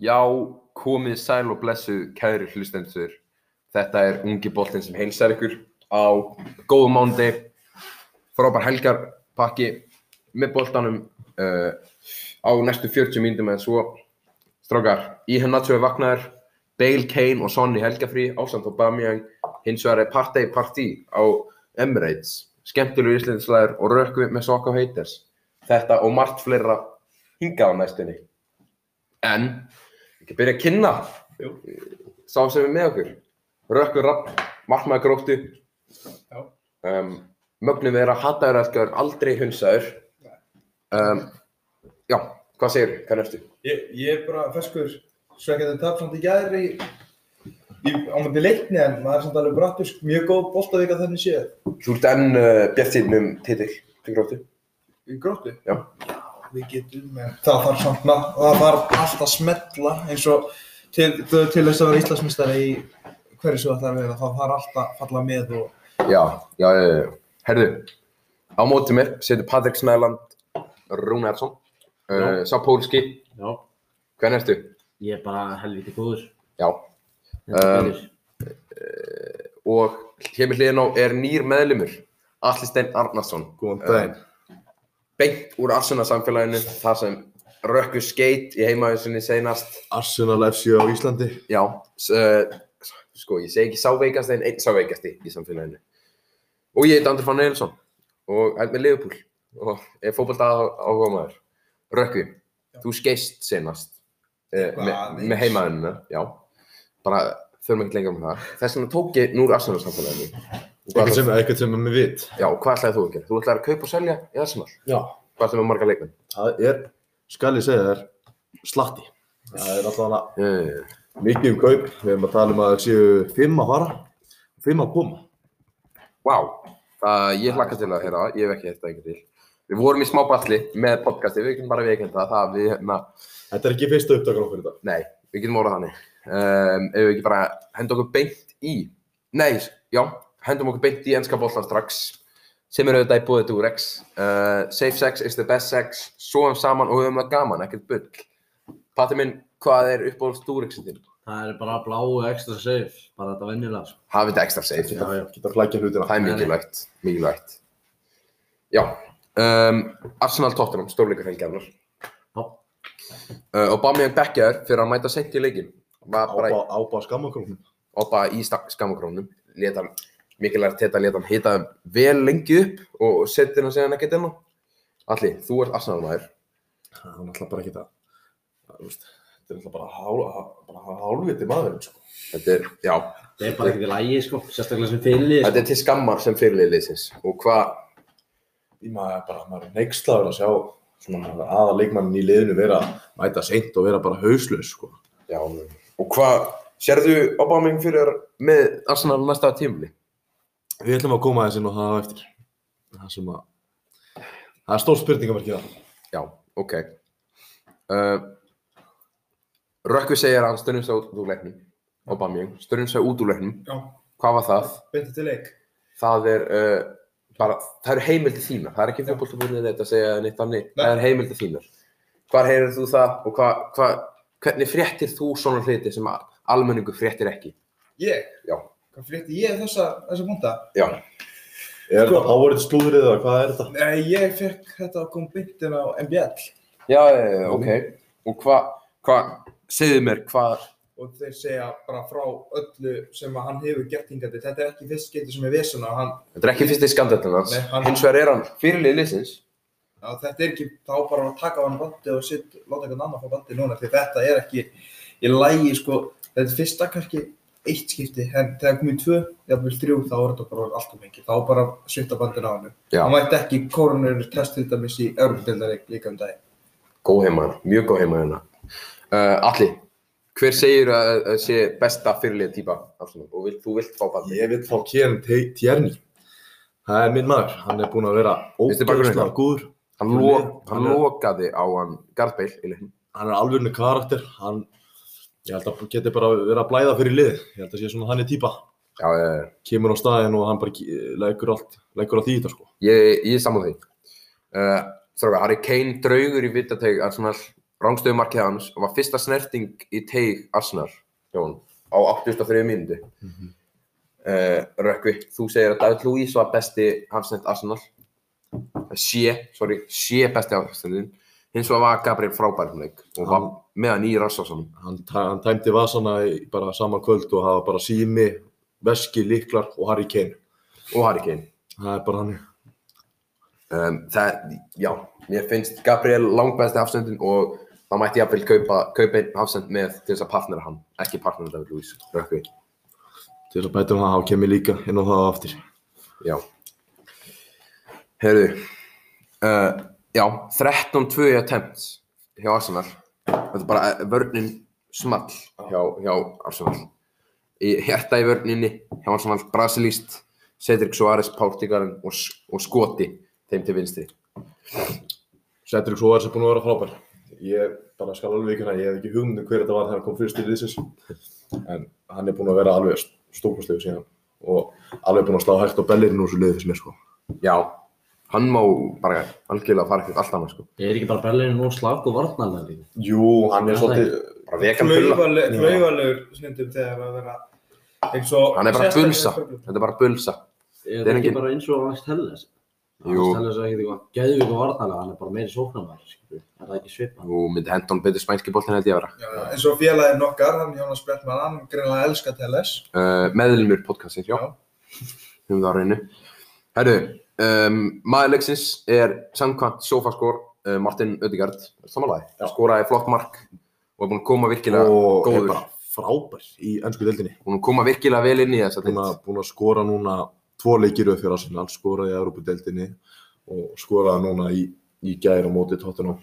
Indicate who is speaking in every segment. Speaker 1: Já, komið sæl og blessuð, kæri hlustendur. Þetta er ungi boltinn sem heilsar ykkur á góðum mándi, frábær helgarpakki með boltanum uh, á næstu 40 mínutum en svo. Strákar, í henn er vaknaður, Bale, Kane og Son í helgafrí, ásamt og Bamiang, hins vegar er partey partí á Emirates, skemmtilegu íslenslæður og rökvi með sokka og heiters. Þetta og margt fleira hingað á næstunni. En ekki byrja að kynna
Speaker 2: Jú.
Speaker 1: sá sem er með okkur Rökkur Rapp, Markmaður Gróttu
Speaker 2: Já.
Speaker 1: um, Mögnum er að hataður elskar aldrei hunsaður um, Já, hvað segir, hvað nefnstu?
Speaker 2: Ég, ég er bara feskur, svekkjandi tap samt í gæðri í, í, á myndi leikni en maður er samt alveg brattur, sko, mjög góð boltavika þannig séð.
Speaker 1: Þú ert enn uh, bjartinn um titill til Gróttu
Speaker 2: Í gróttu?
Speaker 1: Já.
Speaker 2: Við getum, en það þarf samt ná- það þarf allt að smetla eins og til, til til þess að vera Íslandsmyndstari í hverju svo það þarf að vera, það þarf allt að falla með og
Speaker 1: Já, já, já, já Herðu, á móti mér setur Patrik Snæland Rúnarsson uh,
Speaker 3: Já.
Speaker 1: Sá Pólski,
Speaker 3: Já,
Speaker 1: hvað nefnstu?
Speaker 3: ég er bara helviti góður.
Speaker 1: Já, Um, og hér með hliðin á er nýr meðlumur Atli Steinn Arnarsson
Speaker 2: Góðan
Speaker 1: daginn. beint úr Arsenal samfélaginu þar sem rökku skeit í heimaðinsinni seinast
Speaker 4: Arsenal FC á Íslandi
Speaker 1: já, s- eh, sko ég segi ekki sáveikast en einn sáveikasti í samfélaginu og ég heit Andri Fann Eilsson og held með Liverpool og er fótballt áhuga maður rökku, þú skeist seinast eh,
Speaker 2: Hvað
Speaker 1: með
Speaker 2: aðeins?
Speaker 1: me heimaðinu já, bara þurfum ekki lengra með það þess vegna tók ég núr Arsenal samfélaginu Og hvað
Speaker 4: eitthvað
Speaker 1: ætlar-
Speaker 4: sem, eitthvað sem er með vit
Speaker 1: Já, hvað ætlaði þú að gera? Þú ætlaði að kaupa og selja í Arsenal?
Speaker 4: Já.
Speaker 1: Hvað ætlaði með marga leikmenn?
Speaker 4: það er, skal ég segja þér slatti, það er alltaf
Speaker 1: Uh,
Speaker 4: mikið um kaup, við erum að tala um að það séu fimm að fara fimm að koma,
Speaker 1: wow, uh, ég hlakka til að heyra það, ég hef ekki þetta eitthvað til. Við vorum í smá balli með podcasti, við getum bara veikenda það, það við, na,
Speaker 4: þetta er ekki fyrsta uppdagan okkur í dag
Speaker 1: nei, við getum orðað þannig. Um, ef við ekki bara henda okkur beint í, nei, já, hendum okkur beint í ennska bollan strax, sem eru auðvitað í búið Durex. Uh, safe sex is the best sex, svoðum saman og höfum það gaman, ekkert bull. Patti minn, hvað er uppáhalds Durexin þinn?
Speaker 3: það er bara bláu extra safe, bara þetta venjulega. Sko.
Speaker 1: Hafið þetta ekstra safe,
Speaker 4: já, já, geta að flækja hlutina
Speaker 1: Það er mikilvægt, mikilvægt. Já, um, Arsenal Tottenham, stórleikur helgjarnar.
Speaker 3: Já.
Speaker 1: Uh, og Bamiðan bekkjaður fyrir að mæta seint í leikin. Var bara
Speaker 4: ába, ába skammakrónum
Speaker 1: opa í skammakrónum. Leta hann, mikilvægt þetta leta hann hita þeim vel lengi upp og setja hann segja hann ekkert enná. Alli, þú ert Arsenal maður.
Speaker 4: það er náttúrulega bara ekki það það, þú veist, þetta er náttúrulega bara, hál, bara hálfviti maður sko.
Speaker 1: Þetta er, já,
Speaker 3: Það er bara ekkert í lægi, sko, sérstaklega sem sko. fyrirlið.
Speaker 1: þetta er til skammar sem fyrirlið liðsins. Og hvað,
Speaker 4: í maður bara, maður er neykslaður að sjá svona aða leikmannin í liðinu vera mæta seint og vera bara hauslaus sko.
Speaker 1: já, og hvað, sérðu Obaming fyrir með Arsenal næsta tímli?
Speaker 4: Við ætlum að koma aðeins inn og það á eftir. Það sem að... Það er stór spurningamarkið það.
Speaker 1: Já, ok. Uh, Rökkvi segir að hann störnum sig út úr leiknum. Aubameyang, störnum sig út úr leiknum.
Speaker 2: já,
Speaker 1: Hvað var það?
Speaker 2: betur til leik.
Speaker 1: Það er uh, bara, það eru heimildi þínar. Það er ekki fjókbóltabúrið þetta að segja eða neitt annir.
Speaker 2: Nei.
Speaker 1: Það eru heimildi þínar. Hvar heyrir þú það og hva, hva, hvernig fréttir þú svona hluti sem að almenningu fréttir ekki?
Speaker 2: Ég?
Speaker 1: Já.
Speaker 2: Hvað frétti ég þessa, þessa punta?
Speaker 1: Já,
Speaker 4: Er
Speaker 2: Sko-
Speaker 4: þetta powered slúðrið eða hvað er þetta?
Speaker 2: Nei, ég fekk þetta að koma byndin á MBL
Speaker 1: já, eh, ok. Og hvað, hva, segðu mér, hvað,
Speaker 2: og þeir segja bara frá öllu sem að hann hefur gert hingandi. Þetta er ekki fyrst getur sem er vesuna og hann,
Speaker 1: þetta er ekki fyrsti skandalinn hans.
Speaker 2: Nei, hann-
Speaker 1: Hins vegar er hann fyrirlið liðsins.
Speaker 2: á, þetta er ekki, þá bara að taka á hann bandi og sitt, láta einhvern annan fá bandi núna því þetta er ekki í lægi sko, þetta er fyrsta kannski eitt skipti, en þegar komið tvö, jafnvel þrjú, þá er þetta bara allt of mikið, þá bara svita bandin á hann.
Speaker 1: Já.
Speaker 2: Hann mætti ekki koronur test til dæmis í Örndeldarík líka um daginn.
Speaker 1: Góð heimaðina, mjög góð heimaðina. Uh, Alli, hver segir að, að sé besta fyrirlið típa Arsenal og vilt, þú vilt fá bandi?
Speaker 4: Ég vil fá Kieran Te- Tierney. Það er minn maður. Hann er búinn að vera
Speaker 1: Vinstri bakvörður
Speaker 4: ógeðslega
Speaker 1: ykkar?
Speaker 4: góður.
Speaker 1: Hann, lo,
Speaker 4: Hann
Speaker 1: hann
Speaker 4: er-
Speaker 1: lokaði á hann Garth Bale í leiknum.
Speaker 4: Hann er alvörinu karakter. Hann, ég held að hann geti bara verið að blæða fyrir lið. Ég held að sé svona þannig típa.
Speaker 1: Já, uh,
Speaker 4: Kemur á staðinn og hann bara ge- leggur allt, leggur allt í þetta sko.
Speaker 1: Eh, ég, ég er saman því. Uh, Stráka, Harry Kane draugur í vittateg Arsenal rángstöðu markið hans og var fyrsta snerting í teig Asnar Jón, á 83 mínúti mm
Speaker 4: Mhm.
Speaker 1: Eh, Rökkvi, þú segir að David Luís var besti hafsend Arsenal sé, sorry, sé besti hafsendin hins vegar var Gabriel frábærum leik og var
Speaker 4: Hann-
Speaker 1: meðan í Rassarsson
Speaker 4: hann, tæ- hann tæmdi vasana í bara sama kvöld og hafa bara sími, veski, liklar og Harry Kane.
Speaker 1: og Harry Kane
Speaker 4: Það er bara hann.
Speaker 1: um, það, já, mér finnst Gabriel langbæsti hafsendin og það mætti jafnvel kaupa, kaupa einn hafsend með til þess að partnera hann, ekki partnera David Luís Rökkvi
Speaker 4: Til þess að bæta um það, hann kemur líka inn á það aftur.
Speaker 1: Já. Herðu, uh, já, 13-2 í attempts hjá Arsenal. Þetta er bara eh, vörnin small hjá, hjá Arsenal. Í hérta í vörninni hjá Arsenal, Brasilíst, Cedric Suárez, Pártíkarinn og, S- og Skoti þeim til vinstri.
Speaker 4: Cedric Suárez er búinn að vera frábær. Ég bara skal alveg ekki hérna, ég hef ekki hugmynd um hver þetta var þegar hann kom fyrst til liðsins. En hann er búinn að vera alveg stórkostlegu síðan og alveg búinn að slá hægt á bellirinn úr þessu liði fyrst mér sko.
Speaker 1: Já, hann má bara algjörlega fara eitthvað allt annað sko.
Speaker 3: Ég er ekki bara Berlin og Slavko varnarlega líka.
Speaker 4: Jú, hann er
Speaker 3: Já,
Speaker 4: svolítið,
Speaker 1: Bara vegan pulla.
Speaker 2: Klaufalegur klaufalegur stundum þegar að vera eins og
Speaker 1: Hann er bara
Speaker 2: sérstaklega
Speaker 1: bulsa.
Speaker 2: köflum.
Speaker 1: Þetta er bara bulsa.
Speaker 3: Er
Speaker 1: Þetta er
Speaker 3: þetta ekki
Speaker 1: engin-
Speaker 3: bara eins og Alex Telles?
Speaker 1: Jú.
Speaker 3: Alex Telles er ekkert eitthvað geðvík og varnarlega, hann er bara meiri sóknarmæður, skilur. Er það ekki svipað?
Speaker 1: Nú myndi henda hann betur spænski bóltinn held ég að vera.
Speaker 2: Já, eins og félagin okkar, hann Jónas Bjartmann, hann greinlega elskar TLS.
Speaker 1: uh, meðlumur podcastið, já.
Speaker 2: Já.
Speaker 1: Höfum það á reynu. Herru, um, maður leiksins er samkvæmt sofaskor uh, Martin Ödegard, samanlæg,
Speaker 4: Já.
Speaker 1: skoraði flott mark og er búinn að koma virkilega
Speaker 4: og er
Speaker 1: góður.
Speaker 4: bara frábær í ennsku deildinni.
Speaker 1: Búinn að koma virkilega vel inn í þess að
Speaker 4: búin að, búin að skora núna tvo leikir auð fyrir Arsenal, skoraði í Európa-deldinni og skoraði núna í, í gæri á móti Tottenham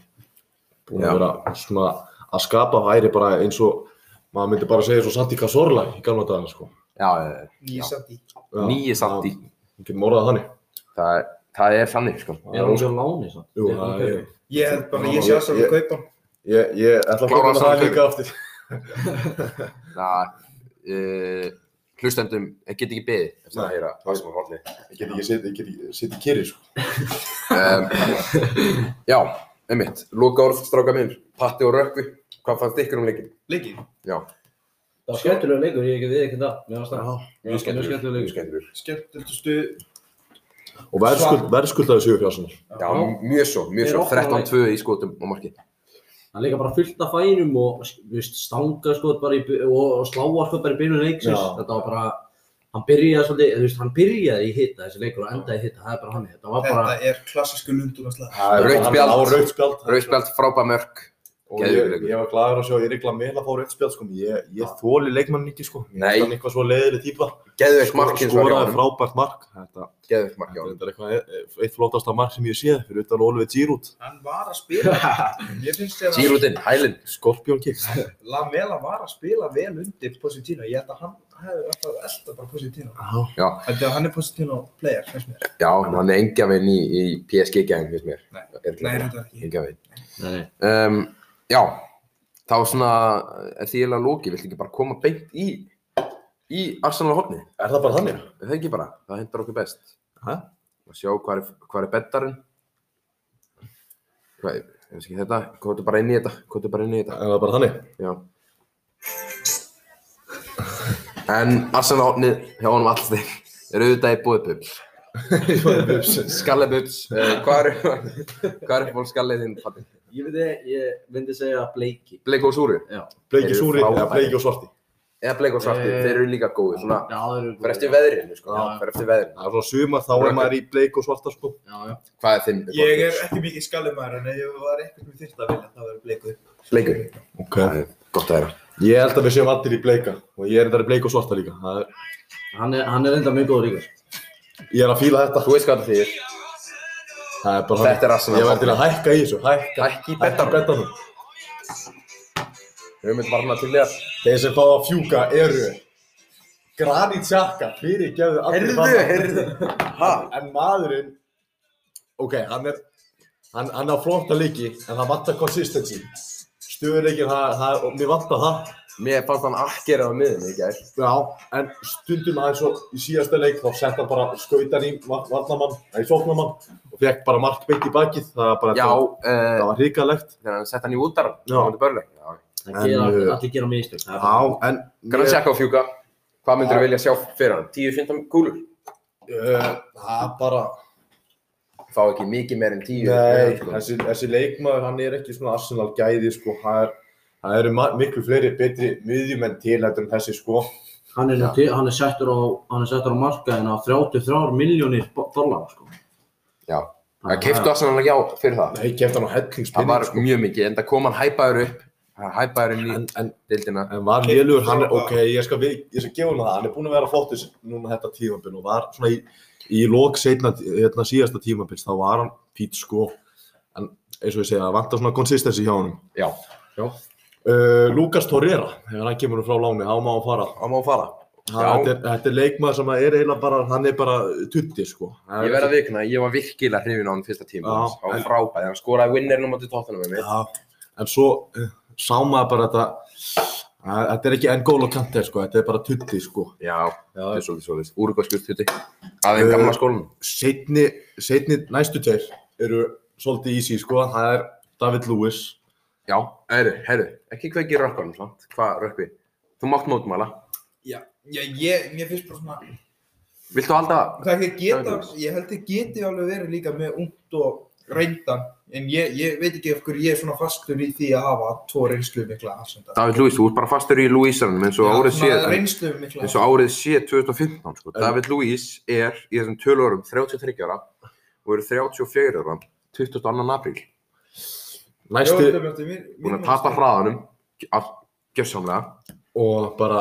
Speaker 4: búin
Speaker 1: Já.
Speaker 4: að vera svona að skapa væri bara eins og maður myndi bara segja svo Santi Cazorla í gamla dagana sko
Speaker 1: Já, eh,
Speaker 2: Nýsandi.
Speaker 4: Já,
Speaker 1: nýi satt í.
Speaker 4: það- getum orðað það þannig
Speaker 1: Það, er- það er þannig, sko.
Speaker 4: Það
Speaker 3: Er
Speaker 4: er
Speaker 3: hann
Speaker 4: ósk-
Speaker 3: ekki á láni samt?
Speaker 4: Jú,
Speaker 3: Er hann
Speaker 4: það
Speaker 3: kaupið?
Speaker 4: er-
Speaker 2: Ég held bara,
Speaker 4: Já,
Speaker 2: ég sé að
Speaker 4: ég-
Speaker 2: það kaupa hann.
Speaker 4: ég, ég ætla að
Speaker 1: Klára
Speaker 4: koma það
Speaker 1: samt
Speaker 4: líka aftur
Speaker 1: Það, uh, hlustendum, ég get ekki beðið eftir
Speaker 4: Nei.
Speaker 1: að heyra það sem er hornið.
Speaker 4: ég get ekki setið- ég get ekki setið kyrri sko
Speaker 1: um, já, einmitt, loka orð, stráka minn, Patti og Rökkvi, hvað fannst ykkur um leikin?
Speaker 2: Leikið.
Speaker 1: Já,
Speaker 3: Það var skemmtilegur leikur, ég við ekki það. Mér varst það. Mjög skemmtilegur
Speaker 1: mjög
Speaker 3: leikur.
Speaker 1: skemmtilegur.
Speaker 2: Skemmtildustu.
Speaker 4: og verðskuld, verðskuldaði sigur fyrir Arsenal
Speaker 1: Já, mjög svo, mjög
Speaker 3: Þeir
Speaker 1: svo,
Speaker 3: opna
Speaker 1: 13-2 í skotum á marki.
Speaker 3: Það er líka bara fullt af fænum og viðst, stanga sko bara í, by- og, og sláar sko bara í byrjun leiksins.
Speaker 4: Já.
Speaker 3: Þetta var bara, hann byrjaði svolítið, þú veist, hann byrjaði í hitta þessi leikur og endaði í hitta, það er bara hann. Þetta var bara,
Speaker 2: Þetta er klassísku lundunarslag.
Speaker 1: Rautt
Speaker 4: Hann-
Speaker 1: spjald.
Speaker 4: á rautt spjald
Speaker 1: Rauðspjald, frábæð mörk.
Speaker 4: og
Speaker 1: Geðveikur
Speaker 4: ég,
Speaker 1: leikur.
Speaker 4: ég var gladur að sjá Eirik Lamela fá rautt spjald sko, ég, ég þóli leikmann ekki sko, ég
Speaker 1: Nei.
Speaker 4: finnst hann eitthvað svo leiðileg típa
Speaker 1: Geðveikt mark hins vegar hjá
Speaker 4: skoraði
Speaker 1: honum.
Speaker 4: frábært mark þetta,
Speaker 1: Geðveikt mark hjá honum.
Speaker 4: þetta er reyndar eitthvað eitt- eitt flottasta mark sem ég séð fyrir utan Oliver Giroud
Speaker 2: Hann var að spila. Mér finnst þér að
Speaker 1: Sírútin, hælinn.
Speaker 4: Skorpjón kick
Speaker 2: Lamela var að spila vel undir Positino. Ég held að hann hefði alltaf elda bara Positino.
Speaker 4: Já,
Speaker 2: Þetta hann er Positino player, finnst mér.
Speaker 1: Já, hann er engjavinn í, í PSG-gæðin, finnst mér.
Speaker 2: Nei. Nei,
Speaker 1: Nei.
Speaker 2: þetta er ekki.
Speaker 1: Engjavinn.
Speaker 3: nei, nei.
Speaker 1: Um, já, þá svona er því eiginlega lokið, viltu ekki bara koma beint í, í Arsenal hodni?
Speaker 4: er það bara þannig?
Speaker 1: Er Það ekki bara, það hendur okkur best.
Speaker 4: Hæ?
Speaker 1: Að sjá hvað er, hvað er beddarinn. Hvað er, ég veist ekki þetta, hvað er bara inn í þetta, hvað er bara inn í þetta.
Speaker 4: Er það bara þannig?
Speaker 1: Já. En Arsenal hotnið hjá honum allstig er auðvitað í búið bubs. Skalle bubs. Uh, hvað er hvað er fólk skallið þinn? Patti?
Speaker 3: Ég veit þið, ég myndi segja Blakey.
Speaker 1: Bleik og súru?
Speaker 3: Já,
Speaker 4: Bleiki
Speaker 1: Þeir eru
Speaker 4: súri eða
Speaker 1: frábærir.
Speaker 4: bleiki og svarti
Speaker 1: Eða bleik og svarti,
Speaker 3: Eh,
Speaker 1: þeir eru líka góðir. Svona,
Speaker 3: já, það eru.
Speaker 1: fyrir eftir veðrinu, sko.
Speaker 3: Já.
Speaker 1: Fyrir eftir veðrinu.
Speaker 4: Það er svona sumar þá er maður í bleiki og svarta sko
Speaker 3: Já, já.
Speaker 1: Hvað er þinn?
Speaker 2: Ég er ekki mikið skallumæður en ef ég var eitthvað með þyrta að vilja þá verður bleikuð.
Speaker 1: Bleikur.
Speaker 4: Ok
Speaker 1: Það er Gott að vera.
Speaker 4: Ég held að við séum allir í bleika og ég er endar í bleiki og svarta líka Það er,
Speaker 3: Hann er, hann er enda mjög góður líka.
Speaker 4: Ég er að fíla þetta
Speaker 1: Þú veist hvað þetta þýðir.
Speaker 4: Það er bara
Speaker 1: Þetta er Arsenal.
Speaker 4: Ég var til að hækka í þessu Hækka,
Speaker 1: Hækki í
Speaker 4: hækka
Speaker 1: beddarinn.
Speaker 4: betanum
Speaker 1: Við höfum þetta varna til þér.
Speaker 4: Þeir sem fá að fjúka eru Granit Xhaka, fyrirgefðu allir
Speaker 1: Heyrðu,
Speaker 4: þarna.
Speaker 1: heyrðu. Ha?
Speaker 4: En maðurinn, ok, hann er, hann, hann á flotta leiki, en það vantar consistency. Stöðuleikin, það, það, og mér vantar það.
Speaker 1: Mér fannst hann akkera á miðinni í gær.
Speaker 4: Já, en stundum aðeins og í síðasta leik þá sett hann bara skautan í var- varnamann, nei, sóknamann og fekk bara margt beint í bakið, það var bara
Speaker 1: Já,
Speaker 4: það,
Speaker 1: uh,
Speaker 4: það var hrikalegt.
Speaker 1: þegar hann sett hann í útdaran.
Speaker 4: Já.
Speaker 1: Já. Já.
Speaker 3: Það
Speaker 4: En,
Speaker 3: gera,
Speaker 4: uh,
Speaker 3: allir gera mistök. það er
Speaker 4: Já,
Speaker 3: bara-
Speaker 4: en
Speaker 1: Kannan
Speaker 4: ég-
Speaker 1: sjekka á fjúka. Hvað myndur þú vilja sjá fyrir hann? 10-15 gúlur?
Speaker 4: Eh, það er bara,
Speaker 1: Fá ekki mikið meir en 10.
Speaker 4: nei,
Speaker 1: sko.
Speaker 4: þessi, þessi leikmaður hann er ekki svona Arsenal gæði sko, það er, það eru ma- miklu fleiri betri miðjumenn til heldur en þessi sko.
Speaker 3: Hann er, nú til, hann er settur á, hann er settur á markaðin á 33 miljónir dollara, sko.
Speaker 1: Já. Það keiftu Arsenal ekki á fyrir það.
Speaker 4: Nei, kemta hann á
Speaker 1: Það
Speaker 4: hellingspinning
Speaker 1: var
Speaker 4: sko.
Speaker 1: mjög mikið, en það kom hann hæpaður upp. Hann hæpaður inn í
Speaker 4: En, en,
Speaker 1: deildina.
Speaker 4: en var lélugur, hann er, ok, ég skal, við, ég skal gefa hann það, hann er búinn að vera flottur s- núna þetta tímabil og var svona í, í lók seinna, hérna síðasta tímabils, þá var hann fít sko, en eins og ég segja, það vantar svona konsistensi hjá hann.
Speaker 1: Já.
Speaker 4: Uh, Lukas Torreira, þegar hann kemur nú frá láni, þá má hann fara.
Speaker 1: Hann má fara.
Speaker 4: Hann,
Speaker 1: Já.
Speaker 4: þetta, er, þetta er leikmaður sem er eiginlega bara, hann er bara tutti sko.
Speaker 1: Ég verð að vikna, ég var virkilega hrifin á hann fyrsta tíma.
Speaker 4: Já.
Speaker 1: hans. Hann var frábæði, hann skoraði winnerinn á móti tóttunum með mig.
Speaker 4: Já, en svo uh, sá maður bara þetta, að, þetta er ekki enn gól og kantir sko, þetta er bara tutti sko.
Speaker 1: Já, Eh.
Speaker 4: Já,
Speaker 1: það er svolítið svolítið. Úrugvaskjúrstuti. Aðeins gamla skólanum.
Speaker 4: setni, setni næstu tveir eru svolítið easy sko, það er David Lewis
Speaker 1: Já, herru, herru, ekki kveikið rökkunum samt. Hvað rökkvi? Þú mátt mótmæla.
Speaker 2: Já, ég, ég, mér finnst bara svona,
Speaker 1: Viltu halda?
Speaker 2: það ekki geta,
Speaker 1: Dæmis.
Speaker 2: ég held ég geti alveg verið líka með ungt og reyndan, en ég, ég veit ekki af hverju ég er svona fastur í því að hafa tvo reynslu mikla aðsenda.
Speaker 1: David Lewis, þú ert bara fastur í Louisanum eins og árið sé, en-
Speaker 2: Reynslu mikla
Speaker 1: eins og árið sé 2015. Sko.
Speaker 4: En-
Speaker 1: David Lewis er í þessum tölurum 33 ára og eru 34 ára 22. apríl.
Speaker 4: næstu
Speaker 1: Búin að tapa hraðanum, af- gjörsamlega,
Speaker 4: og bara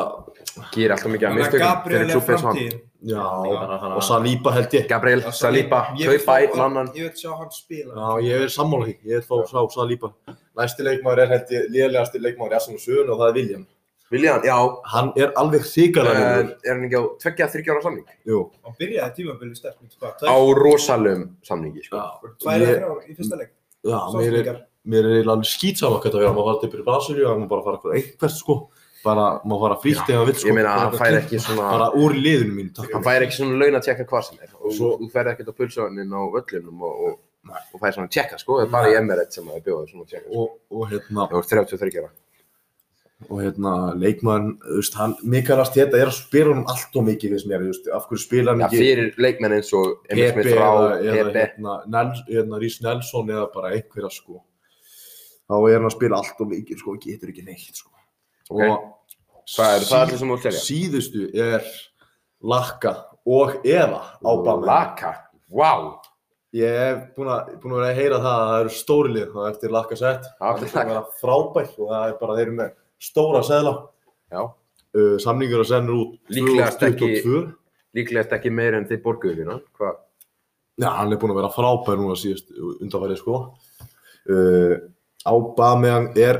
Speaker 1: gerir alltaf mikið að
Speaker 2: Þannig að
Speaker 1: mistökum
Speaker 2: Gabriel
Speaker 1: fyrir
Speaker 2: er
Speaker 1: klubbeins hann.
Speaker 2: framtíðin.
Speaker 4: já,
Speaker 3: bara hann-
Speaker 4: og Saliba held ég
Speaker 1: Gabriel,
Speaker 2: Já,
Speaker 1: Saliba,
Speaker 2: ég vil
Speaker 1: kaupa
Speaker 2: fá-
Speaker 1: einn annan.
Speaker 2: Ég vil sjá hann spila.
Speaker 4: já, ég er sammála því, ég er þá sá Saliba næsti leikmaður er held ég lélegasti leikmaður í Arsenal sögun og það er William
Speaker 1: Viljan, já,
Speaker 4: hann er alveg þykalega
Speaker 1: eh,
Speaker 4: uh,
Speaker 1: er hann ekki á 23 ára samning?
Speaker 4: jú,
Speaker 2: Hann byrjaði tímabilið sterk, mitt hvað,
Speaker 1: Á
Speaker 2: tvær,
Speaker 1: rosalum samningi, sko.
Speaker 4: já,
Speaker 2: tvær eða
Speaker 4: ég,
Speaker 2: þrjár í fyrsta leik.
Speaker 4: já mér er
Speaker 2: Sátningar.
Speaker 4: mér er eiginlega skýtsam okkar að vera, maður fara til byrju Brasilíu, að maður bara fara eitthvað eitthvað sko, bara maður fara frítt ef maður vil sko,
Speaker 1: Ég meina,
Speaker 4: Bara
Speaker 1: hann
Speaker 4: eitthvað
Speaker 1: fær
Speaker 4: kynnt.
Speaker 1: ekki svona...
Speaker 4: bara úr liðinu mínu, takk
Speaker 1: hann fær ekki svona laun að tjekka hvað sem er og
Speaker 4: Svo-
Speaker 1: þú ferð ekkert á pulsónin á öllunum og, og, og fær svona tjekka sko, það er bara í Emirates sem það bjóður svona tjekka sko.
Speaker 4: og, og hérna,
Speaker 1: það voru 33 ára
Speaker 4: og hérna leikmann, þú veist, hann mikilvægast þetta er að spila honum allt og mikið við sem ég, þú veist, af hverju spila hann
Speaker 1: ja,
Speaker 4: ekki
Speaker 1: fyrir leikmenn eins og Emil
Speaker 4: Pepe
Speaker 1: Smith
Speaker 4: eða,
Speaker 1: Rá,
Speaker 4: eða
Speaker 1: Pepe
Speaker 4: hérna, Nels, hérna Rís Nelson eða bara einhverja sko þá er hann að spila allt og mikið sko, getur ekki neitt sko
Speaker 1: Ok.
Speaker 4: og
Speaker 1: það er það er allir sem múið selja
Speaker 4: síðustu er Lakka og eða Ábama
Speaker 1: Laka, wow
Speaker 4: ég hef búin að, búin að vera að heyra það að það eru stórlið þá eftir Lakka sett
Speaker 1: Já,
Speaker 4: það er búin að vera frábært og það er bara þeir eru með stóra seðla
Speaker 1: já,
Speaker 4: uh, samningur að senda út
Speaker 1: Líklegast ekki-
Speaker 4: 2022.
Speaker 1: líklegast ekki meir en þið borguðu þína hvað,
Speaker 4: Já, hann er búinn að vera frábær núna síðust undanfærið sko. Uh, Ábameyan er,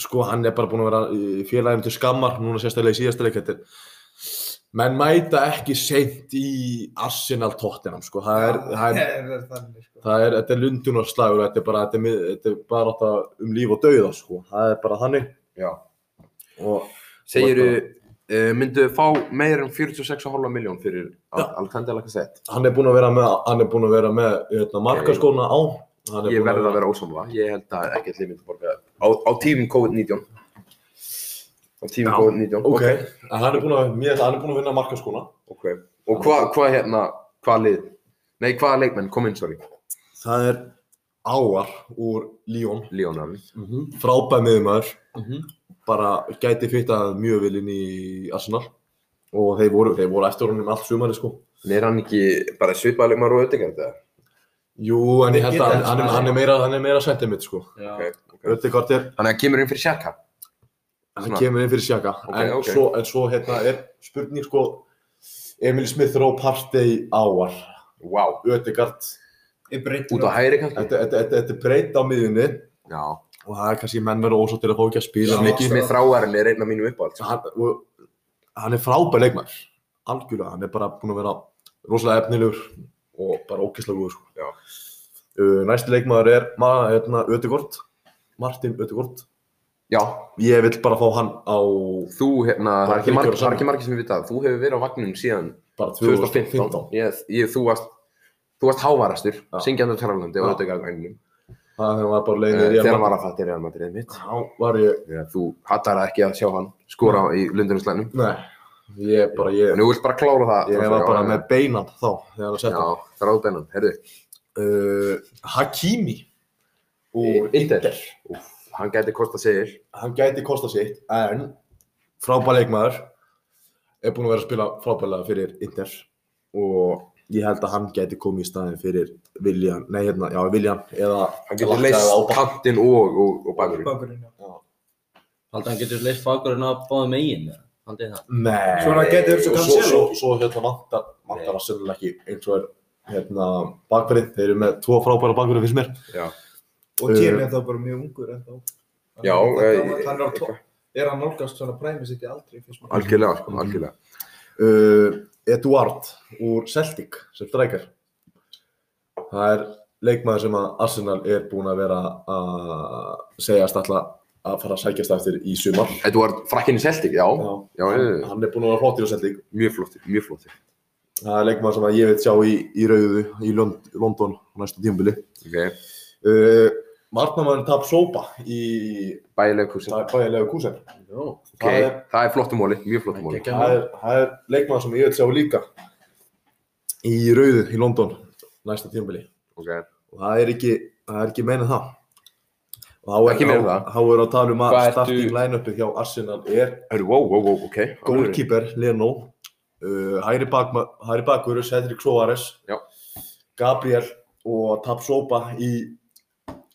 Speaker 4: sko, hann er bara búinn að vera í félagum til skammar núna sérstaklega í síðasta leik. Þetta er, menn mæta ekki seint í Arsenal Tottenham, sko. Það er, það er,
Speaker 2: Það er þannig, sko.
Speaker 4: það er, þetta er lundunarslagur, þetta er bara, þetta er, mið- þetta er bara þetta um líf og dauða, sko. Það er bara þannig.
Speaker 1: já
Speaker 4: Og,
Speaker 1: segiru, uh, mynduðu fá meir en 46,5 miljón fyrir
Speaker 4: Já.
Speaker 1: Alcantara Lacazette
Speaker 4: hann er búinn að vera með, hann er búinn að vera með, hérna, markaskóna á. Hann er
Speaker 1: ég
Speaker 4: búinn
Speaker 1: verði að vera ósamla, ég held að ekkert lið myndi borga á, á tímum COVID-19 á tímum
Speaker 4: Já,
Speaker 1: COVID-19
Speaker 4: Ok, en hann er búinn að, mér, hann er búinn að vinna markaskóna.
Speaker 1: Ok, og hvað hva, hérna, hvað lið? Nei, hvaða leikmenn, kom inn, sorry,
Speaker 4: Það er Áar úr Líón,
Speaker 1: Lionel.
Speaker 3: Mhm,
Speaker 4: frábæð miðumæður,
Speaker 3: mhm.
Speaker 4: bara gæti fyrtað mjög vel inn í Arsenal og þeir voru, þeir voru eftir honum allt sumari sko.
Speaker 1: Nei, er hann ekki bara svipaðið maður og ödingar þetta?
Speaker 4: Jú, en ég held að hann, hann, er- hann er meira, hann er meira sentiment sko.
Speaker 3: Já.
Speaker 1: Ok, ok.
Speaker 4: Öttekort er,
Speaker 1: Þannig að hann kemur inn fyrir Sjaka.
Speaker 4: hann
Speaker 1: Svona.
Speaker 4: kemur inn fyrir sjaka,
Speaker 1: Ok,
Speaker 4: en,
Speaker 1: ok.
Speaker 4: Svo, en svo hérna er spurning sko, Emil Smith Rowe Partey Áar,
Speaker 1: Vá, wow.
Speaker 4: Öttekort,
Speaker 2: Ég breytir
Speaker 1: út á hægri kannski?
Speaker 4: þetta þetta- þetta- þetta er breytt á miðjunni
Speaker 1: Já.
Speaker 4: og það er kannski menn verið ósáttir að fá ekki að
Speaker 2: Já.
Speaker 4: spila mikið.
Speaker 1: Mikið með þráarinn er einn af mínum uppáhalds.
Speaker 4: hann, og, hann er frábær leikmær algjörlega, hann er bara búinn að vera rosalega efnilegur og bara ógeðslega góður
Speaker 1: Já.
Speaker 4: sko. uh, næsti leikmaður er ma- hérna, Ödegord Martin Ödegord
Speaker 1: Já,
Speaker 4: Ég vil bara fá hann á
Speaker 1: þú hérna,
Speaker 4: Bara
Speaker 1: það er ekki
Speaker 4: þriggja
Speaker 1: margir, það
Speaker 4: ára
Speaker 1: er
Speaker 4: saman.
Speaker 1: ekki margir sem við vitað, þú hefur verið á vagnum síðan
Speaker 4: bara
Speaker 1: 2015. Ég, ég, þú varst, þú varst hávarastur,
Speaker 4: Já.
Speaker 1: syngjandi á Tjarlandi
Speaker 4: Já.
Speaker 1: og auðvitað á gænum.
Speaker 4: Það er þegar maður bara leiðin
Speaker 1: Eh, Þegar hann var að þetta er Real Madrid mitt.
Speaker 4: Þá var ég,
Speaker 1: Þegar þú hattar það ekki að sjá hann skora í lunduninslæðinu.
Speaker 4: nei Ég bara, ég,
Speaker 1: En þú vilt bara klára það.
Speaker 4: ég var bara með beinan þá Þegar hann sett
Speaker 1: Já, þráðbennan, heyrðu.
Speaker 4: uh, Hakimi
Speaker 1: Í- Inter. Úff, Hann gæti kosta sigil.
Speaker 4: hann gæti kosta sitt en frábær leikmaður er búinn að vera að spila frábærlega fyrir Inter og ég held að hann gæti komið í staðin fyrir Viljan, nei hérna, já Viljan eða
Speaker 1: Hann getur leist kantinn og, og, og bakurinn.
Speaker 2: Bakurinn, já.
Speaker 3: Haldið hann getur leist bakurinn að báða megin eða? Haldið það?
Speaker 4: Nei,
Speaker 2: Svona gæti verið svo
Speaker 4: og
Speaker 2: Cancelo.
Speaker 4: svo, svo hérna vantar, vantar að sönnulega ekki eins og er hérna bakverið, þeir eru með tvo frábæra bakverið finnst mér
Speaker 2: Og Tjemi er þá bara mjög ungur ennþá. Hann
Speaker 1: Uh, Já,
Speaker 2: er,
Speaker 1: eh,
Speaker 2: hann er, á to- er hann nálgast svona præmi sitt í aldrei, finnst mér.
Speaker 1: Algjörlega, sko, algjörlega.
Speaker 4: uh, Eduard úr Celtic sem strækar það er leikmaður sem að Arsenal er búinn að vera að segjast alltaf að fara að sækjast eftir í sumar
Speaker 1: Edward, frakkinni Celtic, já.
Speaker 4: Já,
Speaker 1: Já,
Speaker 4: hann,
Speaker 1: já, já.
Speaker 4: hann er búinn að vera flottir á Celtic
Speaker 1: Mjög flottir, mjög flottir.
Speaker 4: það er leikmaður sem að ég veit sjá í, í rauðu í Lond London á næsta tímabili
Speaker 1: Ok,
Speaker 4: uh, Varnamæðurinn tap sópa í
Speaker 1: bæðilega kursin.
Speaker 4: bæðilega kúsir
Speaker 3: Jó.
Speaker 1: Ok, það er flottum móli, mjög flottum móli.
Speaker 4: það er, það er leikmaður sem ég veit sjá líka í rauðu í London næsta tímabili
Speaker 1: Ok,
Speaker 4: og það er ekki, það er ekki meina það og þá er,
Speaker 1: Ekki meina það.
Speaker 4: þá, þá er að tala um að
Speaker 1: Hvað ertu-
Speaker 4: starting line-upið hjá Arsenal er
Speaker 1: hörru, wow, wow, wow, ok.
Speaker 4: goalkeeper Leno uh, hæri, bakma, hæri bakvöru Cedric Soares
Speaker 1: Já.
Speaker 4: Gabriel og Tapsoba í,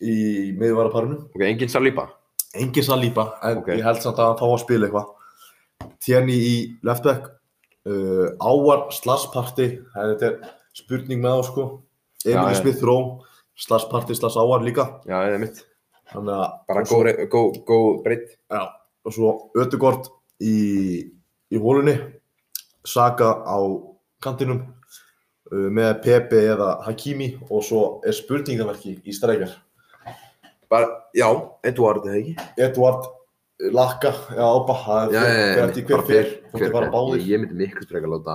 Speaker 4: í miðvaraparinu
Speaker 1: Ok, enginn Saliba.
Speaker 4: engin Saliba en
Speaker 1: Ok.
Speaker 4: ég held samt að hann fá að spila eitthvað Tjerni í leftback uh, Áar slagsparti þetta er spurning með þá sko
Speaker 1: Já,
Speaker 4: Emil
Speaker 1: já.
Speaker 4: Smith Ró slagsparti slags Áar líka
Speaker 1: Já, það er mitt.
Speaker 4: þannig að
Speaker 1: Bara
Speaker 4: og svo-
Speaker 1: góð, góð, góð breytt.
Speaker 4: Já, og svo Ötugord í, í hólunni, Saka á kantinum uh, með Pepe eða Hakimi og svo er spurningamarki í streikjar.
Speaker 1: Bara, já, Edward, eða ekki?
Speaker 4: Eduard eh, Laka eða Ába, það
Speaker 1: Já,
Speaker 4: er
Speaker 1: já, já,
Speaker 4: fyrir eftir
Speaker 1: bara
Speaker 4: hver fyrir,
Speaker 1: hver
Speaker 4: hvort þið fara
Speaker 1: fer.
Speaker 4: báðir.
Speaker 1: Ég- Ég myndi miklu frekar láta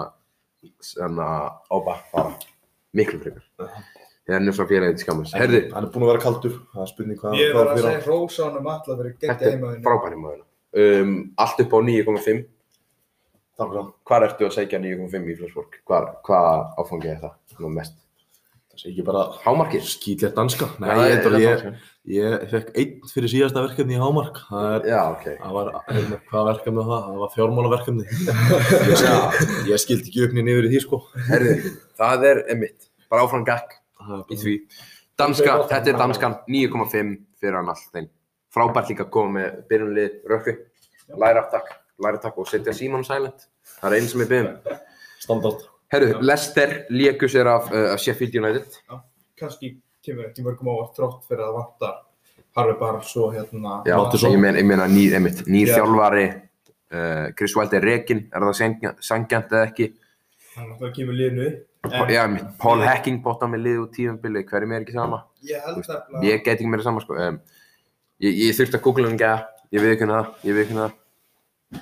Speaker 1: svona ába fara. Miklu frekar. Það er njöfnst að félagið til skammast. Herði,
Speaker 4: Hann er búinn að vera kaldur, það er spurning hvað
Speaker 2: Ég
Speaker 4: hvað
Speaker 2: var að
Speaker 4: fyrir
Speaker 2: segja Rósánum alla fyrir
Speaker 1: þetta
Speaker 2: geggja
Speaker 1: er
Speaker 2: heimaðinu.
Speaker 1: frábæri maður. Um, allt upp á 9,5.
Speaker 4: Takk fyrir það.
Speaker 1: Hvar ertu að segja 9,5 í Flensborg? Hvar, hvað áfangið er það? Nú mest.
Speaker 4: Það sé ekki bara
Speaker 1: Hámarkið?
Speaker 4: skýtlegt danska. Nei,
Speaker 1: Já,
Speaker 4: ég, ég, ég,
Speaker 1: ég,
Speaker 4: ég fekk einn fyrir síðasta verkefni í Hámark. Það er,
Speaker 1: já, ok.
Speaker 4: það var, hérna, hvað verkefni var það? Það var fjármálaverkefni.
Speaker 1: Já,
Speaker 4: Ég skildi ekki auknin yfir í því sko.
Speaker 1: herðu, það er emitt. Bara áfram gakk í því. Danska, þetta er danskan, 9,5 fyrir hann allt þeim. Frábært líka að koma með byrjunlið rökku, læra takk, læra takk og setja Simon Silent. Það er einn sem ég byrjum.
Speaker 4: Standard.
Speaker 1: Herru, Lester léku sér af uh, Sheffield United.
Speaker 2: Kanski kemur ekki mörgum ávart trótt fyrir að vanta Harvey Barnes og hérna...
Speaker 1: Já,
Speaker 4: Mattisson.
Speaker 1: ég meina, ég meina nýr, emitt, nýr
Speaker 2: Já.
Speaker 1: þjálfari, uh, Chris Wilde er rekinn, er það sengja- sanngjarnt eða ekki?
Speaker 2: Hann náttúrulega kemur liðinu upp. en
Speaker 1: Já, emitt, Paul Hacking bótt á með lið úr tíðanbili, hverjum er ekki sama?
Speaker 2: Ég held nefnilega...
Speaker 1: Ég get ekki meira saman sko. Um, ég, ég þurfti að googla hann gæða, ég viðkynna það, ég viðkynna það.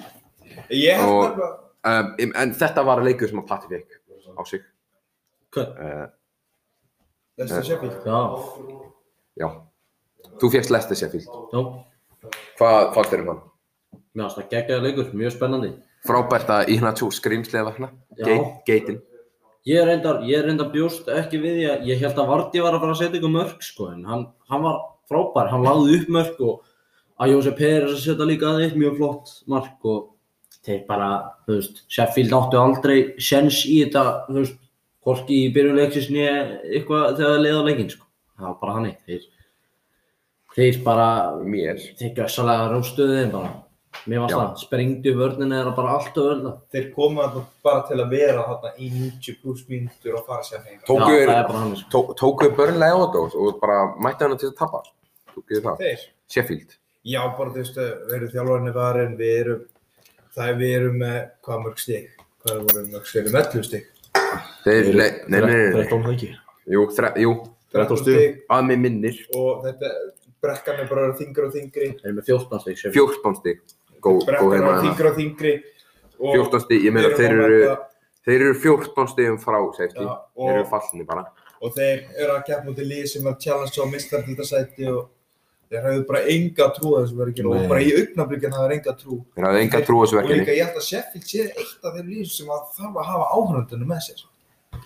Speaker 2: Ég held
Speaker 1: og-
Speaker 2: nefnilega...
Speaker 1: Um, en þetta var að leikur sem að Patti fekk á sig.
Speaker 3: Hvern?
Speaker 1: Uh,
Speaker 2: Lester Sheffield.
Speaker 3: Já.
Speaker 1: já. Þú fékkst Lester Sheffield.
Speaker 3: Já.
Speaker 1: Hvað fannst þér um hann?
Speaker 3: Mér finnst það geggjaði leikur, mjög spennandi.
Speaker 1: Frábært að í hérna tjó skrýmslega vakna.
Speaker 3: Já.
Speaker 1: Geit- Geitin.
Speaker 3: Ég reyndar, ég reyndar bjóst ekki við því að ég held að Vardí var að fara að setja ykkur mörg sko en hann, hann var frábær, hann lagði upp mörg og að Jósef Peres að setja líka að eitt mjög flott mark og þeir bara, þú veist, Sheffield áttu aldrei sens í þetta, þú veist, hvorki í byrjunleiksins nýja eitthvað þegar það leiði á leikinn sko. Það var bara hannig, þeir, þeir bara,
Speaker 1: Mér.
Speaker 3: þeir gjössalega róstuðu þeim bara.
Speaker 1: Já.
Speaker 3: Mér varst það, sprengdu vörnina þeirra bara allt og öllu.
Speaker 2: Þeir koma þarna bara til að vera þarna í 90 pluss mínútur og fara sér heim.
Speaker 3: Já,
Speaker 1: Tókuðu
Speaker 3: það er bara hannig sko.
Speaker 1: tó, tóku börnlega á þetta og bara mætti hann til að tapa. Tókuðu það.
Speaker 2: Þeir?
Speaker 1: Sheffield.
Speaker 2: Já, bara þú veist, við erum þjálfarni varin, við erum... Það er við erum með hvað mörg stig? Hvað er voru mörg stig? Við erum 11 stig.
Speaker 1: Þeir, nei, nei, nei, nei, nei.
Speaker 4: 13 leiki.
Speaker 1: Jú, þre, jú,
Speaker 2: 13
Speaker 4: 13 stig.
Speaker 2: stig.
Speaker 1: að mig minnir.
Speaker 2: og þetta brekkan er bara að vera þingri og þingri
Speaker 3: Þeir eru með 14 stík sem
Speaker 1: 14 stík, góð gó
Speaker 2: brekkan
Speaker 1: heima
Speaker 2: er að vera
Speaker 1: hérna.
Speaker 2: þingri og þingri og
Speaker 1: 14 stík, ég meina
Speaker 2: við
Speaker 1: þeir
Speaker 2: erum að
Speaker 1: eru,
Speaker 2: mæta-
Speaker 1: þeir eru 14 stíðum frá, safety.
Speaker 2: Já,
Speaker 1: Þeir eru
Speaker 2: og,
Speaker 1: fallinni bara.
Speaker 2: og þeir eru að keppa út í lið sem var challenge á mistandildasæti og þeir hafðu bara enga trú að þessu verkinu
Speaker 4: Nei.
Speaker 2: og bara í augnablikinu hafðu þeir enga trú
Speaker 1: Þeir hafði enga trú á þessu
Speaker 2: og líka
Speaker 1: verkefni.
Speaker 2: ég held að Sheffield sé eitt af þeim lið sem að þarf að hafa áhörnundinu með sér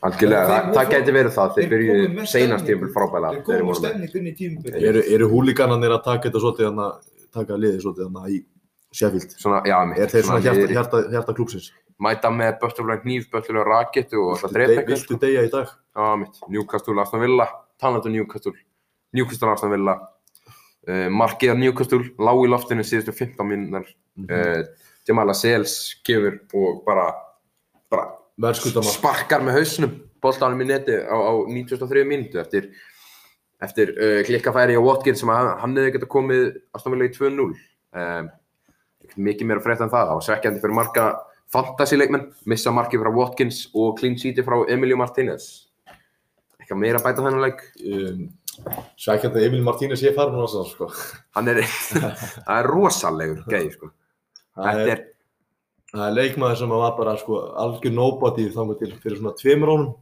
Speaker 1: Algjörlega,
Speaker 2: Þeir-
Speaker 1: það,
Speaker 2: þeir-
Speaker 1: það geti verið það. Þeir
Speaker 2: þeir komu
Speaker 1: byrjuðu
Speaker 2: með
Speaker 1: seinast
Speaker 2: stemningu.
Speaker 1: tímpil frábæla.
Speaker 2: þeir komum á stemningunni í tímubyrju
Speaker 4: Eru, eru húliganarnir að taka þetta svolítið hana, taka liðið svolítið hana í Sheffield?
Speaker 1: Svona, já, mitt,
Speaker 4: Er þeir svona hjarta,
Speaker 1: liðir-
Speaker 4: hjarta, hjarta klúpsins?
Speaker 1: mæta með böttulega hníf, böttulega rakettu og alltaf drepa eitthvað. sko.
Speaker 4: Viltu deyja í dag?
Speaker 1: Já, mitt. Newcastle, Aston Villa, Tannatu Newcastle, Newcastle, Aston Villa, uh, markið af Newcastle, lág í loftinu síðustu 15 minnar,
Speaker 4: Mhm.
Speaker 1: uh, Jamala Sales kemur og bara, bara
Speaker 4: Verðskuldamark.
Speaker 1: sparkar með hausnum boltanum í neti á, á 93 mínútu eftir, eftir uh, klikkafæri á Watkins sem að, hann hefði getað komið Aston Villa í 2-0. Um, mikið meira frétt en það, það var svekkjandi fyrir marga fantasy leikmenn, missa markið frá Watkins og clean sheeti frá Emilio Martinez eitthvað meira að bæta þennan leik
Speaker 4: Um, Sækjandi Emil Martínez ég farin á þessan sko.
Speaker 1: hann er, það er rosalegur gæði sko,
Speaker 4: Það
Speaker 1: þetta
Speaker 4: er-
Speaker 1: er
Speaker 4: Það er leikmaður sem var bara sko, algjör nobody þangar til fyrir svona tveimur ánum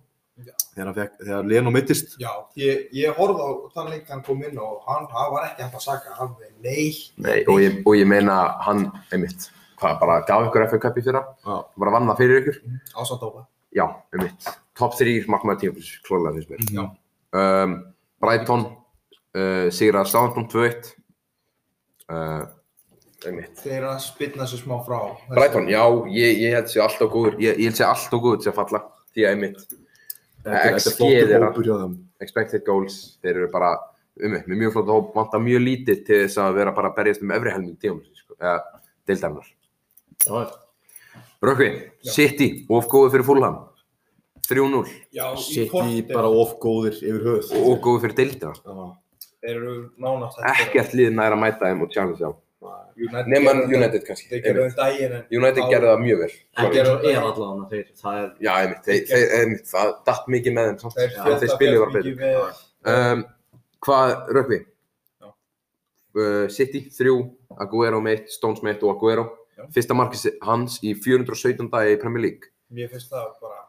Speaker 2: Já.
Speaker 4: þegar, hann fékk- þegar Leno mittist.
Speaker 2: Já, ég, ég horfði á þann leik hann kom inn og hann, hann var ekki hægt að saka hann við neitt.
Speaker 1: Nei, og, ég, og ég meina hann, einmitt hvað, bara gaf ykkur FA Cup í fyrra
Speaker 4: Já.
Speaker 1: bara vann það fyrir ykkur,
Speaker 2: Ásatópa.
Speaker 1: já, einmitt top 3 markmaður tímafélis, klóðlega finnst mér
Speaker 2: Já.
Speaker 1: um, Brighton uh, sigraði Southampton 2-1 uh, einmitt
Speaker 2: Þeir eru að spilna sér smá frá.
Speaker 1: Brighton, já, ég, ég held sé alltaf góður ég, ég held sé alltaf góður til að falla því að einmitt,
Speaker 4: Þetta er- þetta
Speaker 1: XG
Speaker 4: er flottur
Speaker 1: þeirra.
Speaker 4: hópur hjá þeim.
Speaker 1: expected goals þeir eru bara, einmitt, með mjög flott hóp vantar mjög lítið til þess að vera bara að berjast um efri helming tíum, sko, eða deildarinnar
Speaker 4: Já,
Speaker 1: Rökkvi,
Speaker 2: Já.
Speaker 1: City, of góður fyrir Fulham 3-0
Speaker 2: Já, í
Speaker 4: City
Speaker 2: kortir
Speaker 4: bara of góðir yfir höfuð.
Speaker 1: og of góður fyrir deildina
Speaker 4: Já.
Speaker 2: eru nánast
Speaker 1: ekkert lið nær að mæta þeim og challenge á
Speaker 2: United
Speaker 1: nema
Speaker 2: gerðu það-
Speaker 1: United kannski
Speaker 2: Þeir gerðu
Speaker 1: einmitt.
Speaker 2: það um daginn en
Speaker 1: United
Speaker 2: á-
Speaker 1: gerði það mjög vel
Speaker 3: ekki
Speaker 1: Sorry.
Speaker 3: er allavega þeir. Það er,
Speaker 1: Já, einmitt, þeir, þeir, einmitt, það datt mikið með þeim samt,
Speaker 2: þeir
Speaker 1: en þeir spilið var betur
Speaker 2: betur.
Speaker 1: um, Hvað, Rökkvi?
Speaker 2: Já.
Speaker 1: Uh, City, 3, Aguero með 1, Stones með 1 og Aguero
Speaker 2: Já.
Speaker 1: Fyrsta markið hans í 417 dagi í Premier League
Speaker 2: Mér finnst það bara...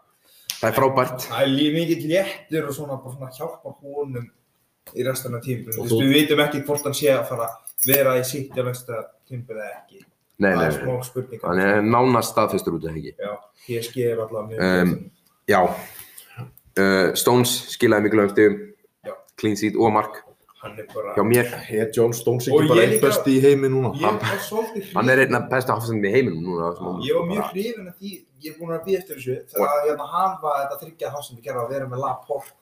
Speaker 1: Það er frábært
Speaker 2: Það er líf mikill léttur og svona, bara svona hjálpa honum í restan af tímpinu.
Speaker 4: Og
Speaker 2: Þú
Speaker 4: þú-
Speaker 2: veist, við vitum ekki hvort hann sé að fara að vera í City á næsta tímpinu eða ekki.
Speaker 1: Nei,
Speaker 2: Það
Speaker 1: nei,
Speaker 2: er
Speaker 1: nei,
Speaker 2: smá spurningar.
Speaker 1: hann er nánast staðfestur út af ekki
Speaker 2: Já, PSG er allavega mjög
Speaker 1: Ehm,
Speaker 2: betri.
Speaker 1: Já uh, Stones skilaði mikilvægum stigum
Speaker 2: Já.
Speaker 1: Clean seat og mark
Speaker 2: hann er bara
Speaker 1: hjá mér
Speaker 4: Er John Stones
Speaker 2: Og
Speaker 4: ekki bara
Speaker 2: ég
Speaker 4: einn
Speaker 2: líka-
Speaker 4: besti í heimi núna?
Speaker 2: ég var svolítið
Speaker 1: Hann er
Speaker 2: hrifinn
Speaker 1: einn af bestu hafsendum í heiminum núna á þessum
Speaker 4: Já,
Speaker 1: mómentum,
Speaker 2: ég var mjög
Speaker 1: bara-
Speaker 2: hrifin af því ég er búin að býja eftir þessu þegar að hérna hann var þetta þryggja hásindi gerða að vera með Laporte,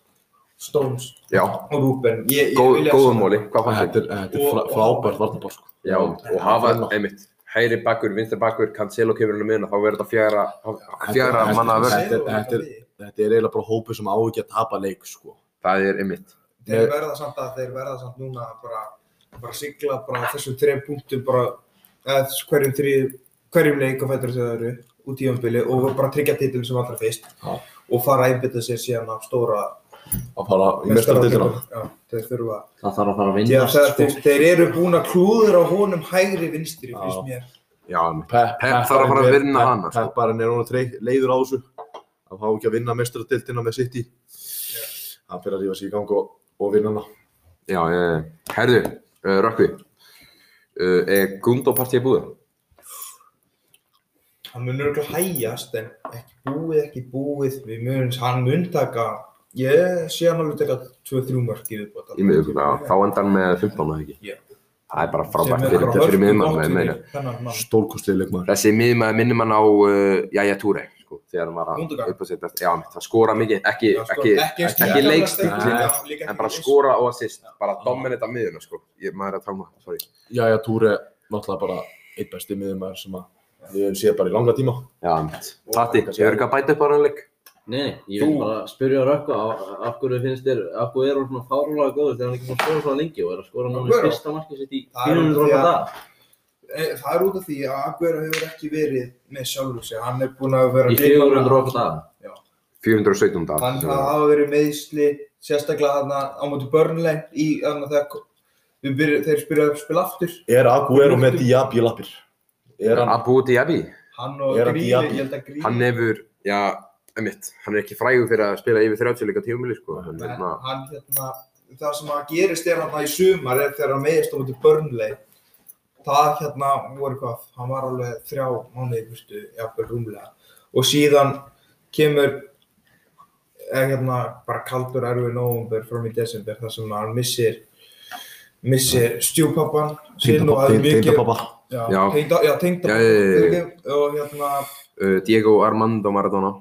Speaker 2: Stones
Speaker 1: Já,
Speaker 2: og Ruben ég, ég
Speaker 1: góð,
Speaker 2: vilja
Speaker 1: góðum
Speaker 2: sjá-
Speaker 1: móli, hvað fannst
Speaker 4: Þetta
Speaker 1: þér?
Speaker 4: er, þetta er
Speaker 2: Og-
Speaker 4: frá,
Speaker 2: og-
Speaker 4: frábært varnabár sko.
Speaker 1: Já, og hafa, einmitt, hægri bakkur, vinstri bakkur, Cancelo kemur hann um minna, þá verður þetta fjara, fjara
Speaker 4: Þetta-
Speaker 1: manna að verða.
Speaker 4: Þetta er- þetta er- Þetta er eiginlega bara hópur sem á ekki að tapa leik sko.
Speaker 1: Það er einmitt.
Speaker 2: þeir verða samt að þeir verða samt núna að bara, bara sigla bara á þessum þrejum punktum bara eða þess- hverjum þrý hverjum leik og fættur þess að eru út í jömbili og bara tryggja titil sem allra fyrst
Speaker 4: Já.
Speaker 2: og fara að einbytta sér síðan á stóra
Speaker 4: Að fara í mestaraldildina.
Speaker 2: Já, þeir þurfa
Speaker 3: það þarf að fara
Speaker 2: Já,
Speaker 3: að vinna. sko.
Speaker 2: það, þeir, þeir eru búin að klúður á honum hægri vinstri, finnst
Speaker 4: Já.
Speaker 2: mér.
Speaker 1: Já, einmitt.
Speaker 4: Pep,
Speaker 1: Pep þarf að fara að
Speaker 4: Pepparinn er-
Speaker 1: vinna
Speaker 4: Pep-
Speaker 1: hana, sko.
Speaker 4: Pepparinn er núna trey- leiður á þessu að fá ekki að vinna mestaraldildina með City hann fyrir að rífa sig í gang og, og vinna hana
Speaker 1: Já, eh, herðu, uh, Rökkvi, uh, er Gundopartíð búið?
Speaker 2: Hann mun örgulega hægjast, en ekki búið, ekki búið. Við munum, hann mun taka, ég sé hann alveg taka 2-3 mörg í viðbót.
Speaker 1: Í miðuguna, þá endar hann með 15 eða ekki.
Speaker 2: Já.
Speaker 1: Það er bara frábært fyrir, fyrir, fyrir miðmann, ég meina.
Speaker 2: meina.
Speaker 4: stórkostið leikmaður
Speaker 1: Þessi miðmaður minnir mann á uh, Jæja Túre, sko, þegar hann var
Speaker 2: Gundogan.
Speaker 1: að uppsetjast. Já, einmitt, það skora mikið, ekki,
Speaker 2: sko,
Speaker 1: ekki, ekki, ekki leikstíklinn, en bara skora og assist, bara dominita miðuna sko, ég, maður er að tala um það, sorry.
Speaker 4: Jæja Túre, náttúrulega bara einn besti miðjumæður sem að við höfum séð bara í langa tíma
Speaker 1: Já, mitt. Tati, hefur ekki að bæta upp á hann leik?
Speaker 3: Nei, nei, ég vil
Speaker 1: Þú-
Speaker 3: bara spyrja Rökva, á- af hverju finnst þér, af hverju er hún svona fárulega góður þegar hann er ekki búinn að skora svona lengi og er að skora núna
Speaker 2: Aguero?
Speaker 3: í fyrsta markið sitt í
Speaker 2: Það er
Speaker 3: 400
Speaker 2: því
Speaker 3: rúna
Speaker 2: að-
Speaker 3: dag.
Speaker 2: Eh, Það er út af því að Aguero hefur ekki verið með sjálfur sig. Hann er búin að vera
Speaker 3: Í 400 rúna dag.
Speaker 1: 417
Speaker 2: Hann
Speaker 1: dag.
Speaker 2: það hafa verið meðsli, sérstaklega þarna á móti Burnley í þarna þegar Við byrjuðum, þeir spyrjaðu að spila aftur.
Speaker 4: Er Aguero með Diaby í lappir? Er hann,
Speaker 1: Abu Dhabi,
Speaker 2: Hann og
Speaker 4: Er hann
Speaker 2: Gríli,
Speaker 4: Diaby?
Speaker 2: ég held að Gríli,
Speaker 1: hann hefur, já, emitt, hann er ekki frægur fyrir að spila yfir 30 leika tíumili, sko. Hann,
Speaker 2: en
Speaker 1: hérna,
Speaker 2: hann hérna, það sem að gerist er hann í sumar er þegar hann meðist á mútið Burnley. Það hérna voru hvað, hann var alveg þrjá mánuði, veistu, jafnvel rúmlega. Og síðan kemur, eða hérna, bara kaldur erfið nóvumber fram í desember, þar sem hann missir, missir stjúpappan sinn og það er mikið,
Speaker 4: Tindapappa.
Speaker 2: já,
Speaker 1: Já.
Speaker 2: tengda, já, tengda,
Speaker 1: Já, já, já, já.
Speaker 2: og hérna,
Speaker 1: uh, Diego Armando Maradona,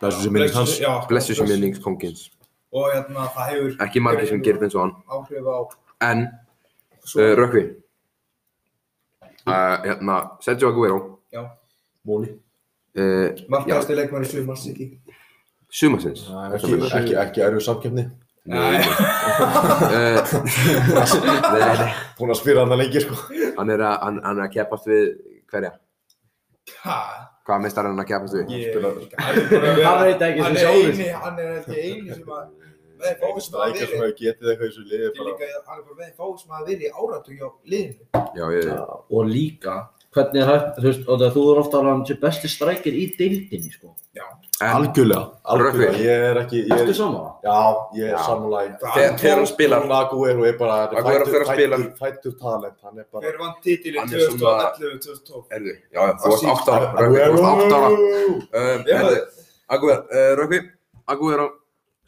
Speaker 4: Blessu sem minnist hans.
Speaker 2: já,
Speaker 1: blessu sem minnings kongins.
Speaker 2: og hérna það hefur
Speaker 1: Ekki margir sem gerir eins og hann.
Speaker 2: áhrif á
Speaker 1: En,
Speaker 2: svo,
Speaker 1: uh, Rökkvi, uh, hérna, Sergio Aguero,
Speaker 2: já,
Speaker 4: Móli.
Speaker 1: uh,
Speaker 2: markaðasti leikmæri sumar City
Speaker 1: sumasins.
Speaker 4: Ekki, ekki, ekki erfið samkjöfni.
Speaker 1: Nei, uh, nei, nei.
Speaker 4: Búin að spila hann lengi sko.
Speaker 1: Hann er að, hann, hann er að keppast við hverja? Hvað meistar er hann að keppast við?
Speaker 2: ég
Speaker 4: spilar-
Speaker 3: Hann
Speaker 2: hann
Speaker 3: veit ekki
Speaker 2: hann
Speaker 3: sem
Speaker 2: er
Speaker 3: sjálfur.
Speaker 2: eini hann er held ég eini sem að Nei, fáið sem að
Speaker 4: Strækja
Speaker 2: verið.
Speaker 4: sem hefur getið eitthvað í þessu liði.
Speaker 2: ég
Speaker 4: bara-
Speaker 2: líka hann er bara með fá sem að verið í áratu hjá liðinu
Speaker 1: Já, ég,
Speaker 3: Og líka, hvernig er hægt, þú veist, og það þú er ofta að hann sé besti strækir í deildinni, sko.
Speaker 1: en
Speaker 4: Algjörlega. Algjörlega.
Speaker 1: Rökkvi.
Speaker 4: Ég er ekki, ég
Speaker 3: Ertu
Speaker 4: er,
Speaker 3: saman?
Speaker 4: já, ég er
Speaker 1: Já.
Speaker 4: sammálaði.
Speaker 1: þegar þegar hann spilar,
Speaker 4: Hann Aguero er bara, þetta er
Speaker 1: Aguero þegar hann
Speaker 4: fæddur-
Speaker 1: spilar.
Speaker 4: fæddur- fæddur talent, hann er bara.
Speaker 2: hver vann titilinn
Speaker 1: Hann er svona-
Speaker 2: 2011-2012
Speaker 1: erðu, já, já, þú varst átt ára, Rökkvi, þú
Speaker 4: Aguero!
Speaker 1: varst átt ára. Um,
Speaker 2: Já.
Speaker 1: Erðu, Aguero, uh, Rökkvi, Aguero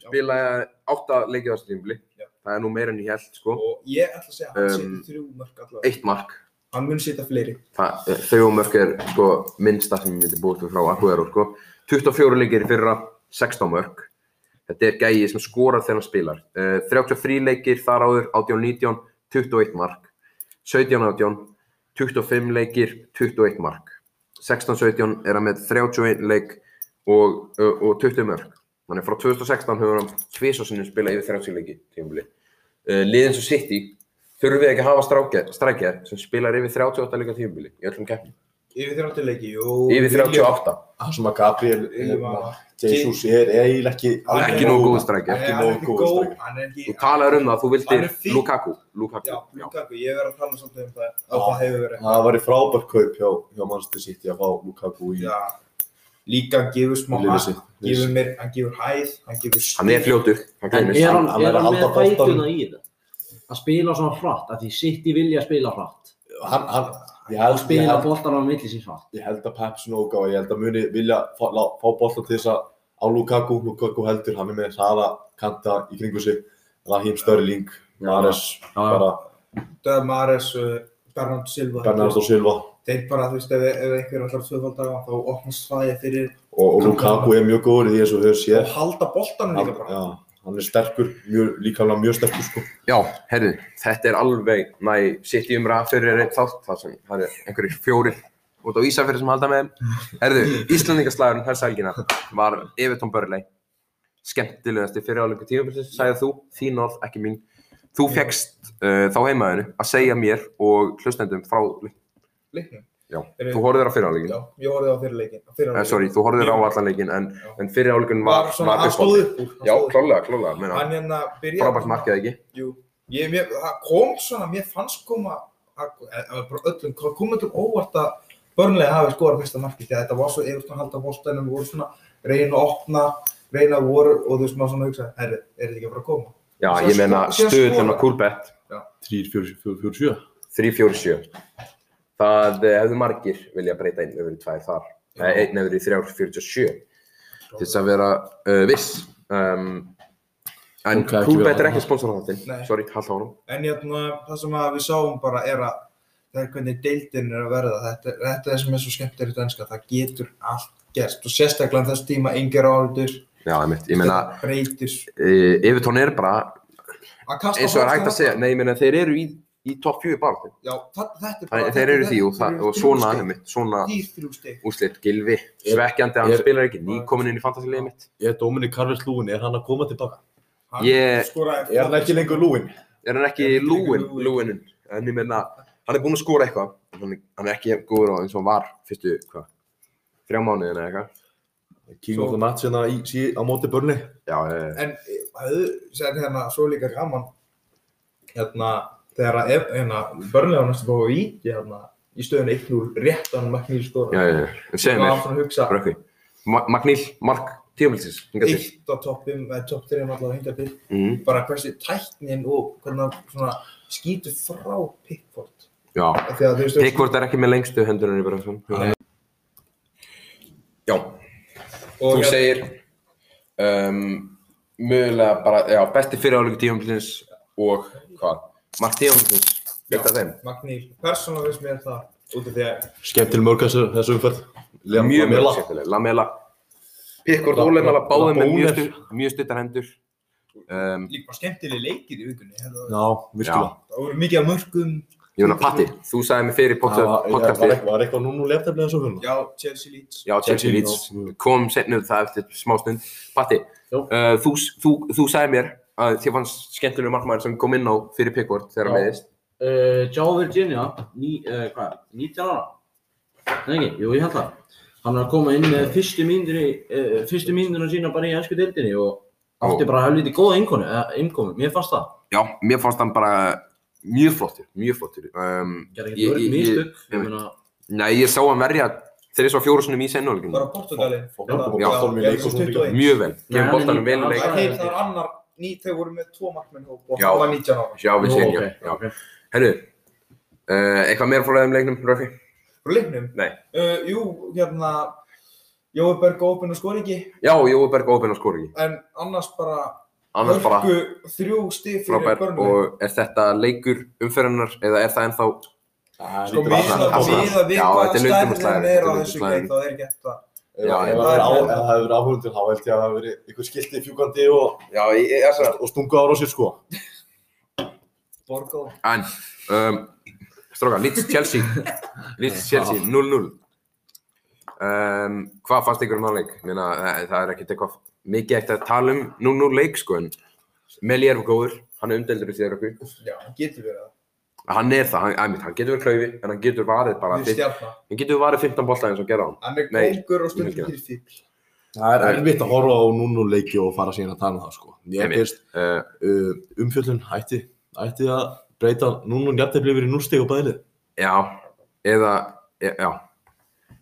Speaker 1: spilaði átta leikið á strímbli.
Speaker 2: Já.
Speaker 1: Það er nú meira enn ég held, sko.
Speaker 2: og ég ætla að segja að hann
Speaker 1: Um,
Speaker 2: seti þrjú mörg allavega
Speaker 1: Eitt mark.
Speaker 2: hann mun setja fleiri
Speaker 1: Það, eh, þau og mörk er, sko, minnsta sem ég myndi búið til frá Aguero, sko. 24 leikir í fyrra, 16 mörk. Þetta er gæi sem skorar þegar hann spilar. Uh, 33 leikir þar áður, 18-19, 21 mark. 17-18, 25 leikir, 21 mark. 16-17 er hann með 31 leik og, uh, og 20 mörk. Þannig frá 2016 hefur hann tvisosinni spilað yfir 30 leiki tímabili. Uh, liðin sem sitt í þurfum við ekki að hafa strákja- strækjar sem spilar yfir 38 leika tímabili í öllum keppnum.
Speaker 2: yfir 30 leiki jú,
Speaker 1: Yfir 38.
Speaker 4: Það sem að Gabriel, hérna, Jesus er eiginlega ekki
Speaker 1: Ekki nógu góð strækjar.
Speaker 2: Nei,
Speaker 4: Ekki
Speaker 2: hann er
Speaker 4: nógu
Speaker 2: ekki
Speaker 4: góð
Speaker 2: góð
Speaker 4: strækjar.
Speaker 2: hann er ekki
Speaker 1: Þú talar um það að þú
Speaker 2: Hann
Speaker 1: vildir
Speaker 2: er fínn.
Speaker 1: Lukaku. Lukaku.
Speaker 2: Já,
Speaker 1: já.
Speaker 2: Lukaku, ég verð að tala svolítið um það að það hefur verið
Speaker 4: Það var í frábær kaup hjá, hjá Manchester City að fá Lukaku í
Speaker 2: Já, líka hann gefur smá
Speaker 4: Lifi
Speaker 2: hann
Speaker 4: sitt.
Speaker 2: gefur mér, hann gefur hæð, hann gefur stíl
Speaker 1: Hann er fljótur. Hann
Speaker 3: En
Speaker 1: gleymist.
Speaker 3: er hann,
Speaker 4: hann
Speaker 3: er
Speaker 4: verður að
Speaker 3: hann með
Speaker 4: halda boltanum.
Speaker 3: bætuna í þetta? Að spila svona hratt, af því sitt í vilja að spila hratt.
Speaker 4: Hann, hann, ég held, ég
Speaker 3: Spila
Speaker 4: held,
Speaker 3: boltan á milli sín hratt.
Speaker 4: ég held að Pep snóka og ég held að muni vilja fá, lá, fá boltan til þess að á Lukaku, Lukaku heldur, hann er með hraða kanta í kringu sig, Raheem Störling, Mares, bara
Speaker 2: Döð Mares, uh, Bernardo Silva
Speaker 4: Bernardo Silva
Speaker 2: þeir bara, þú veist, ef, ef einhver allar tvöfaldar þá opnast svæði fyrir
Speaker 4: og, og Lukaku er mjög góður í því eins og þau séð.
Speaker 2: og halda boltanum
Speaker 4: Hann,
Speaker 2: líka bara
Speaker 4: já, hann er sterkur, mjög, líkamlega mjög sterkur sko.
Speaker 1: Já, herru, þetta er alveg næ sitt í umra fyrir einn þátt þar sem það er einhverjir fjórir út á Ísafjörði sem halda með þeim. Herru, Íslandingaslæðurinn þessa helgina var Evertón Börlei. Skemmtilegasti fyrirálingu tímabilsins, sagði þú, þín orð, ekki mín. Þú fegst uh, þá heimaðinu að segja mér og hlustendum frá leiknum.
Speaker 2: leiknum
Speaker 1: Já,
Speaker 2: Eru-
Speaker 1: þú horfðir á fyriráleikin.
Speaker 2: Já, ég horfði á fyrir leikin fyrir
Speaker 1: Eh, sorry, þú horfðir á allan leikin en,
Speaker 2: Já.
Speaker 1: en fyrirálingun var,
Speaker 2: var svona, hann
Speaker 1: uppáhaldið.
Speaker 2: stóð upp úr hann
Speaker 1: Já,
Speaker 2: stóð upp úr.
Speaker 1: klálega, klálega, meina,
Speaker 2: hann hérna byrjaði
Speaker 1: frábært markið ekki.
Speaker 2: Jú, ég, mér, það kom svona, mér fannst koma, að, að, að bara öllum, það kom öllum óvart að börnlega hafi skorað fyrsta markið, því að þetta var svo Evertón halda bóltanum, voru svona reyna að opna, reyna að voru og þú veist maður svona hugsa, herri, er þetta ekki að fara að koma?
Speaker 1: Já,
Speaker 2: Svo
Speaker 1: ég meina hérna
Speaker 2: sko- síðan
Speaker 1: stuðlun
Speaker 2: skorar.
Speaker 1: og kúlbett.
Speaker 4: 3, 4, 4, 4, 7.
Speaker 1: 3-4-7 það eh, hefðu margir vilja breyta einn yfir í tvær þar Nei, einn yfir í 3-47 til þess að vera uh, viss um, en
Speaker 4: Ok,
Speaker 1: okay,
Speaker 4: ekki
Speaker 1: Kúlbett
Speaker 4: vera-
Speaker 1: er ekki sponsor á þáttinn
Speaker 2: Nei.
Speaker 1: sorry, haldt árum
Speaker 2: En hérna, það sem að við sáum bara er að það er hvernig deildin er að verða, þetta, þetta er sem er svo skemmtilegt ennska, það getur allt gerst og sérstaklega þess tíma yngir áldur,
Speaker 1: já, einmitt, ég meina
Speaker 2: breytis,
Speaker 1: uh, Evertón er bara
Speaker 2: að kasta
Speaker 1: eins og er
Speaker 2: boltanum
Speaker 1: hægt að segja nei, ég meina þeir eru í, í topp 4 bara
Speaker 2: Já, það, þetta er bara,
Speaker 1: Þannig, þeir eru í því og, það, og svona, einmitt, svona
Speaker 2: Dýr þrjú stygg.
Speaker 1: úslit gilvi svekkjandi, hann
Speaker 4: er-
Speaker 1: spilar ekki nýkomin inn í fantasiliðið mitt
Speaker 4: Er Dominic Carves lúin, er hann að koma tilbaka?
Speaker 1: Ég-
Speaker 2: skoraði
Speaker 4: Er hann ekki lengur lúin?
Speaker 1: er hann
Speaker 2: Er
Speaker 1: ekki
Speaker 2: hann ekki
Speaker 1: lúin,
Speaker 2: lúinn?
Speaker 1: lúinin en ég meina, hann er búinn að skora eitthvað en hann, hann er ekki jafn góður á eins og hann var fyrstu, hvað, þrjá mánuðina eða eitthvað
Speaker 4: King
Speaker 2: Svo-
Speaker 4: of the match hérna í, sí, á móti börni.
Speaker 1: já, eh,
Speaker 2: En höfðu, sér hérna, svo líka gaman, hérna, þegar að ef- hérna, börnlega var næstu fóðu víti hérna, í stöðun 1-0 réttan Magníl skora
Speaker 1: Já, já, já. En segðu
Speaker 2: var
Speaker 1: mér,
Speaker 2: svona að hugsa
Speaker 1: Rökkvi, Ma- Magníl, Mark, tíumilsins, hingað til.
Speaker 2: eitt á toppum, eða topp 3 allavega hingað til
Speaker 1: Mhm.
Speaker 2: bara hversi tæknin og hvernig hann svona skýtur frá Pickford
Speaker 1: Já,
Speaker 2: Af því að þú veist
Speaker 1: Pickford er ekki með lengstu hendurinni bara svona. Já,
Speaker 2: og
Speaker 1: þú
Speaker 2: hérna-
Speaker 1: segir um, mögulega bara, já, besti fyriráðlöku tíumilsins og hvað? Mark tíumilsins, eitt af þeim.
Speaker 2: Magníl, persónulega finnst mér það út af því að
Speaker 4: Skemmtil mörg þessu, þessu umferð.
Speaker 1: Mjög mjög
Speaker 4: Lamela.
Speaker 1: skemmtileg, Lamela. Pickford
Speaker 4: La-
Speaker 1: og Lamela
Speaker 4: La-
Speaker 1: báði með mjög
Speaker 4: Labouler.
Speaker 1: stu- mjög stuttar hendur. Um,
Speaker 2: líka bara skemmtileg leikir í vikunni hérna.
Speaker 4: Já, virkilega.
Speaker 2: það voru mikið af mörgum
Speaker 1: ég meina, Patti, þú sagði mér fyrir
Speaker 4: Það var-
Speaker 1: podcastið.
Speaker 4: var- Var eitthvað núna úr lefnafnið þessu umferð?
Speaker 2: já, Chelsea Leeds
Speaker 1: Já, Chelsea
Speaker 4: Chelsea,
Speaker 1: Leeds
Speaker 4: já. Mm.
Speaker 1: kom setnið það eftir smá stund. Patti,
Speaker 3: Já.
Speaker 1: uh, þú, þú, þú sagði mér að þér fannst skemmtilegur markmaður sem kom inn á fyrir Pickford þegar hann
Speaker 3: Já.
Speaker 1: meðist.
Speaker 3: Uh, Joe Virginia, ní, uh, hvað, er, 19 ára? Nei ekki, jú ég held það. Hann er að koma inn með fyrstu mínunni, uh, fyrstu mínunna sína bara í ennsku deildinni og átti
Speaker 1: Ó.
Speaker 3: bara helviti góða innkomi, uh, innkomi, mér fannst það.
Speaker 1: Já, mér fannst hann bara mjög flottur, mjög flottur. Um, Ég-
Speaker 3: Gerði ekki
Speaker 1: ég-
Speaker 3: mörg
Speaker 1: ég-
Speaker 3: mistök, ég
Speaker 1: einmitt.
Speaker 3: meina,
Speaker 1: nei, ég sá hann verja þreis og fjóru sinum í sennuleginu.
Speaker 2: bara Portugalin
Speaker 4: Fá- fá- fá-
Speaker 1: Já.
Speaker 4: fá- fá-
Speaker 2: Já,
Speaker 4: leik og svona líka.
Speaker 2: 21.
Speaker 1: Mjög vel,
Speaker 3: Nei, hann
Speaker 1: gefum
Speaker 3: er
Speaker 1: boltanum
Speaker 3: ný-
Speaker 1: vel í
Speaker 3: hann-
Speaker 1: leik.
Speaker 2: Það er annar, ný, þeir voru með tvo markmenn hóp og
Speaker 1: Já.
Speaker 2: hann var 19 ára.
Speaker 1: Já, við
Speaker 3: nú,
Speaker 1: séum,
Speaker 3: ok,
Speaker 1: já.
Speaker 3: ok.
Speaker 1: Herru, uh, eitthvað meira frá leiðum leiknum, Röfi?
Speaker 2: Frá leiknum?
Speaker 1: Nei.
Speaker 2: Uh, jú, hérna, Jói Berg ópen og skor ekki,
Speaker 1: Já, Jói Berg ópen og skori ekki.
Speaker 2: en annars bara,
Speaker 1: Annars bara
Speaker 2: hörku þrjú stig fyrir
Speaker 1: frábær
Speaker 2: börnum.
Speaker 1: og er þetta leikur umferðinnar eða er það ennþá
Speaker 4: Það
Speaker 2: Sko,
Speaker 4: lítur bara
Speaker 1: mismunandi-
Speaker 2: miða
Speaker 4: svona-
Speaker 1: Hafnar.
Speaker 2: miða við
Speaker 1: Já,
Speaker 2: hvað
Speaker 1: þetta er lundum og
Speaker 2: stærðin
Speaker 1: slagir, þetta
Speaker 2: er á
Speaker 1: er
Speaker 2: þessu
Speaker 1: lundum og slagir.
Speaker 2: gæt, þá er gett það.
Speaker 1: Já,
Speaker 4: Ef
Speaker 1: já.
Speaker 4: ef það hefði verið á- ef það hefði verið áhugum til, þá held ég að það hefði verið einhver skilti fjúkandi og,
Speaker 1: Já, ég, ég, ég,
Speaker 4: og stungu ára á sér sko.
Speaker 2: Borgó.
Speaker 1: En, um, stróka, Leeds Chelsea Leeds Chelsea 0-0 um, Hvað fannst ykkur um þann leik? Meina, það, það er ekkert eitthvað mikið ekkert að tala um 0-0 leik sko en Meli er góður, hann er umdeldur í þér okkur
Speaker 2: Já, hann getur verið það.
Speaker 1: Hann er það, hann, einmitt, hann getur verið klaufi en hann getur varið bara
Speaker 2: Við
Speaker 1: fimm-
Speaker 2: stjarnar.
Speaker 1: hann getur varið 15 bolta eins og gerða hann
Speaker 2: Hann er
Speaker 1: Nei,
Speaker 2: kókur
Speaker 1: ég
Speaker 2: og
Speaker 1: vil
Speaker 2: stundum
Speaker 1: gera.
Speaker 2: fyrir fíl.
Speaker 4: Það er erfitt að horfa á núna leiki og fara síðan að tala um það sko. Ég
Speaker 1: Einmitt.
Speaker 4: finnst
Speaker 1: uh,
Speaker 4: uh, umfjöllun ætti, ætti að breyta núna og jafntefli yfir í núlsteg og bæðlið.
Speaker 1: Já, eða, e, já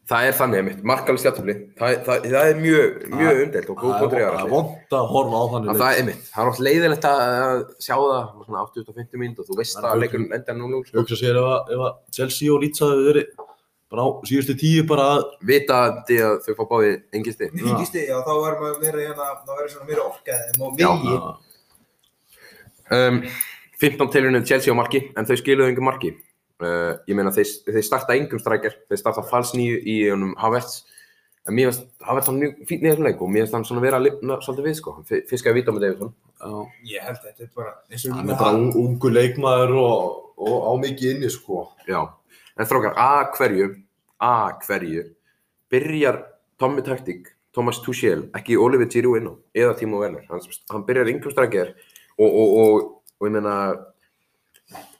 Speaker 1: Það er þannig einmitt, markalist játtöfli það, það, það er mjög, mjög
Speaker 4: Ah,
Speaker 1: umdelt og góð bóttur í aðra
Speaker 4: Það er vond að horfa á þannig
Speaker 1: En það er einmitt, það er oft leiðilegt að að sjá það svona 80-50 mínúti og þú veist
Speaker 4: Það er
Speaker 1: að
Speaker 4: hugsun.
Speaker 1: leikurinn enda 0-0
Speaker 4: Ég
Speaker 1: sko.
Speaker 4: hugsa sér ef að, ef að Chelsea og Leeds hafði verið bara á síðustu tíu bara að
Speaker 1: Vitandi að þau fá báði engin stið.
Speaker 4: Já.
Speaker 2: Ekki stig, já, þá er maður meira hérna, þá verður svona meira orkaðið og
Speaker 1: Já.
Speaker 2: vilji.
Speaker 1: Um, 15 tilunnið Chelsea á marki, en þau skiluðu engum marki. Uh, ég meina þeir, þeir starta engum strækjar, þeir starta fals nýju í honum Havertz. En mér finnst Havertz hann mjög fínn í þessum leik og mér finnst hann svona vera að lifna svolítið við sko. Hann fi- fiskaði vítum með Davidson.
Speaker 4: Já.
Speaker 2: Ég held að þetta er bara eins og
Speaker 4: Hann er bara un- ungu leikmaður og, og á mikið inni sko.
Speaker 1: Já, en þrókar, að hverju, að hverju, byrjar Tommy Taktik, Thomas Tuchel, ekki Oliver Giroud inn á, eða Timo Werner, hann, hann byrjar yngum strækjar og, og, og, og ég meina,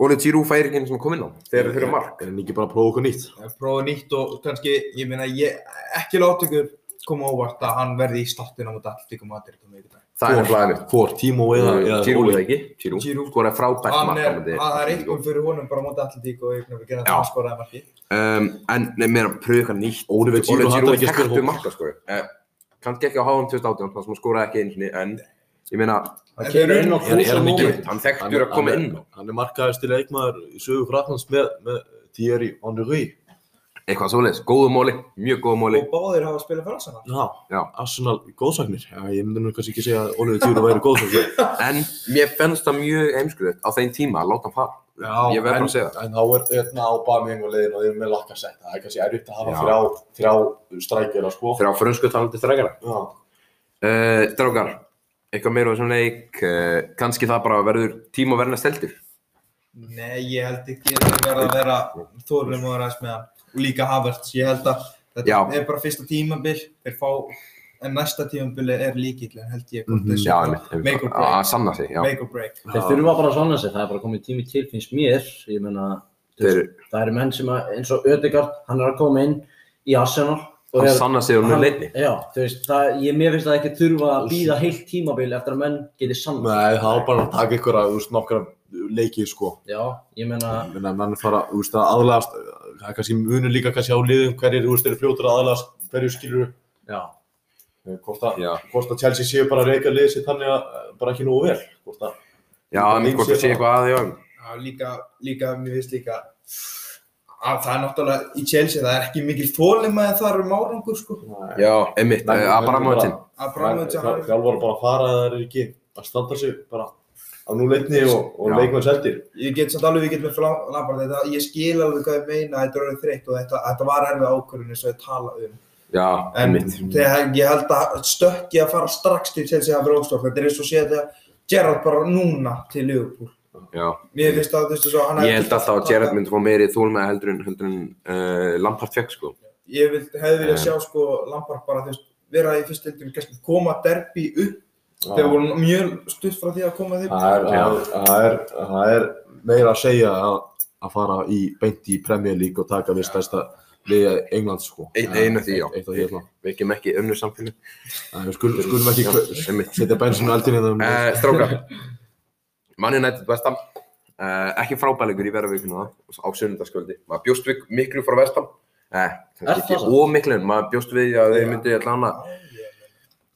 Speaker 1: Oliver Giroud fær ekki einu sem kom inn á, þegar þeir eru mark.
Speaker 4: Er hann ekki bara að prófa okkur nýtt?
Speaker 2: að prófa nýtt og kannski, ég meina, ég ekki láta ykkur koma á óvart að hann verði í startinu á móti Atletico Madrid á miðvikudag.
Speaker 1: Það er
Speaker 4: Sko.
Speaker 1: nefnilega einmitt.
Speaker 4: Hvor, Timo eða, eða
Speaker 1: Giroud
Speaker 4: Ole?
Speaker 1: eða ekki, Giroud,
Speaker 2: Giroud.
Speaker 1: skoraði frábært
Speaker 2: Hann
Speaker 1: mark.
Speaker 2: er,
Speaker 1: á móti
Speaker 2: að það er
Speaker 1: Atletico.
Speaker 2: eitthvað fyrir honum bara á móti Atletico og einhvern veginn að
Speaker 1: Já.
Speaker 2: hann skoraði marki.
Speaker 1: Um, en nei, mér að pröfa eitthvað nýtt.
Speaker 4: Oliver Giroud
Speaker 1: Oliver
Speaker 4: hattar
Speaker 1: Giroud
Speaker 4: ekki
Speaker 1: er
Speaker 4: að spila
Speaker 1: þekktu
Speaker 4: fótbolta.
Speaker 1: marka sko. Eh, kannski ekki á háum 2018, þannig sem hann skoraði ekki einu sinni, en ég meina,
Speaker 2: En
Speaker 3: Hann kemur
Speaker 2: þeir
Speaker 3: inn
Speaker 2: eru-
Speaker 3: á
Speaker 4: Er- er
Speaker 3: crucial
Speaker 4: hann ekki-
Speaker 3: moment.
Speaker 1: hann þekktur að koma inn á.
Speaker 4: Hann er markaðist til leikmaður í sögu Fraklands með, með Thierry Henry.
Speaker 1: eitthvað svoleiðis, góðu móli, mjög góðu móli
Speaker 2: Og báðir hafa spilað fyrir Arsenal.
Speaker 4: Já,
Speaker 1: Já.
Speaker 4: Arsenal góðsagnir. Já, ég myndi nú kannski ekki segja að Oliver Týru væri góðsagnir.
Speaker 1: en mér fennst það mjög heimskuðið á þeim tíma að láta hann fara
Speaker 4: Já,
Speaker 1: Ég verð bara
Speaker 4: en-
Speaker 1: að segja það.
Speaker 4: En þá er hérna á Baming og leiðin og þeir eru með Lacazette. Það er kannski erfitt að
Speaker 1: Já.
Speaker 4: hafa þrjá, þrjá strækjara sko.
Speaker 1: þegar á frönsku talandi strækjara
Speaker 4: Já.
Speaker 1: uh, Drákar, eitthvað meira á þessum leik uh, kannski það bara verður tíma að verna steltur
Speaker 2: Nei, ég held ekki að það verða að vera þorðum og ræðs með hann. Og líka Havertz, ég held að þetta
Speaker 1: Já.
Speaker 2: er bara fyrsta tímabil, þeir fá, en næsta tímabili er líkillin, held ég, hvort
Speaker 4: Mhm.
Speaker 2: þessu
Speaker 1: já, einmitt,
Speaker 2: make
Speaker 1: einmitt,
Speaker 2: or
Speaker 1: að
Speaker 2: break.
Speaker 1: að sanna sig já.
Speaker 2: make or break.
Speaker 3: Þeir þurfa bara að sanna sig, það er bara komið tími til finnst mér, ég meina, þú veist, það eru menn sem að, eins og Ödegard, hann er að koma inn í Arsenal og
Speaker 1: hann
Speaker 3: hefur-
Speaker 1: sanna sig um
Speaker 3: hann-
Speaker 1: leitni
Speaker 3: Já, þú veist, það, ég, mér finnst það ekki þurfa að býða heilt tímabil eftir að menn geti saman.
Speaker 4: Nei, það var bara að taka ykkur að, þú veist, nokkra leikið sko.
Speaker 3: Já, ég meina,
Speaker 4: Menna, menn fara, þú veist, að aðlast, það er kannski munur líka kannski á liðum hverjir, þú veist, eru fljótur að aðlast, hverju skilur,
Speaker 3: já,
Speaker 4: hvort að,
Speaker 1: Já.
Speaker 4: hvort að Chelsea séu bara að reyka liðið sér þannig að, eh, bara ekki nógu vel, hvort að,
Speaker 1: Já, en hvort það sé eitthvað að, já.
Speaker 2: Já, líka, líka, mér finnst líka að það er náttúrulega í Chelsea, það er ekki mikil þólimaði þar um árangur, sko.
Speaker 1: Já, einmitt, eh, Abramovicin.
Speaker 2: Abramovich að hann,
Speaker 4: Þjálfur bara að fara að það er ekki að standa sig bara á núleitni og, og
Speaker 1: Já.
Speaker 4: leikmenn seldir.
Speaker 2: ég get samt alveg, ég get með flambar þetta, ég skil alveg hvað ég meina, þetta er orðið þreytt og þetta, þetta var erfið ákvörðinu sem ég tala um.
Speaker 1: Já,
Speaker 2: En
Speaker 1: einmitt.
Speaker 2: þegar ég held að stökki að fara strax til Chelsea að Róstorf, þetta er eins og sé þetta Gerrard bara núna til Liverpool.
Speaker 1: Já.
Speaker 2: Mér finnst að, þú veist, svo hann
Speaker 1: Ég held alltaf að Gerrard myndi fá meiri þólmaði heldur en, heldur en uh, Lampard fekk, sko.
Speaker 2: ég vil, hefði viljað
Speaker 1: En-
Speaker 2: sjá sko Lampard bara þú veist, vera í fyrstu deildinni, kannski koma derbi upp
Speaker 4: Já.
Speaker 2: þegar voru mjög stutt frá því að koma þeim
Speaker 4: Það er,
Speaker 1: Já.
Speaker 4: það, það er, það er meira að segja að, að fara í, beint í Premier League og taka við stærsta liðið England sko.
Speaker 1: Eitt- einu af því, já.
Speaker 4: Eitt af því hérna. allavega.
Speaker 1: Við ekki ekki önnur samfélag.
Speaker 4: En við skulum, skulum ekki
Speaker 1: Já,
Speaker 4: hver-
Speaker 1: einmitt.
Speaker 4: setja bensin á eldin hérna.
Speaker 1: Uh, strákar, Man United Vestam, uh, ekki frábæleikur í verðarvíkuna á sunnundaskvöldi. Maður bjóst við miklu frá Vestam, eh,
Speaker 3: Er
Speaker 1: kannski
Speaker 3: það
Speaker 1: ekki
Speaker 3: svo?
Speaker 1: ómiklu, en maður bjóst við að þeir
Speaker 2: Já.
Speaker 1: myndi allan að,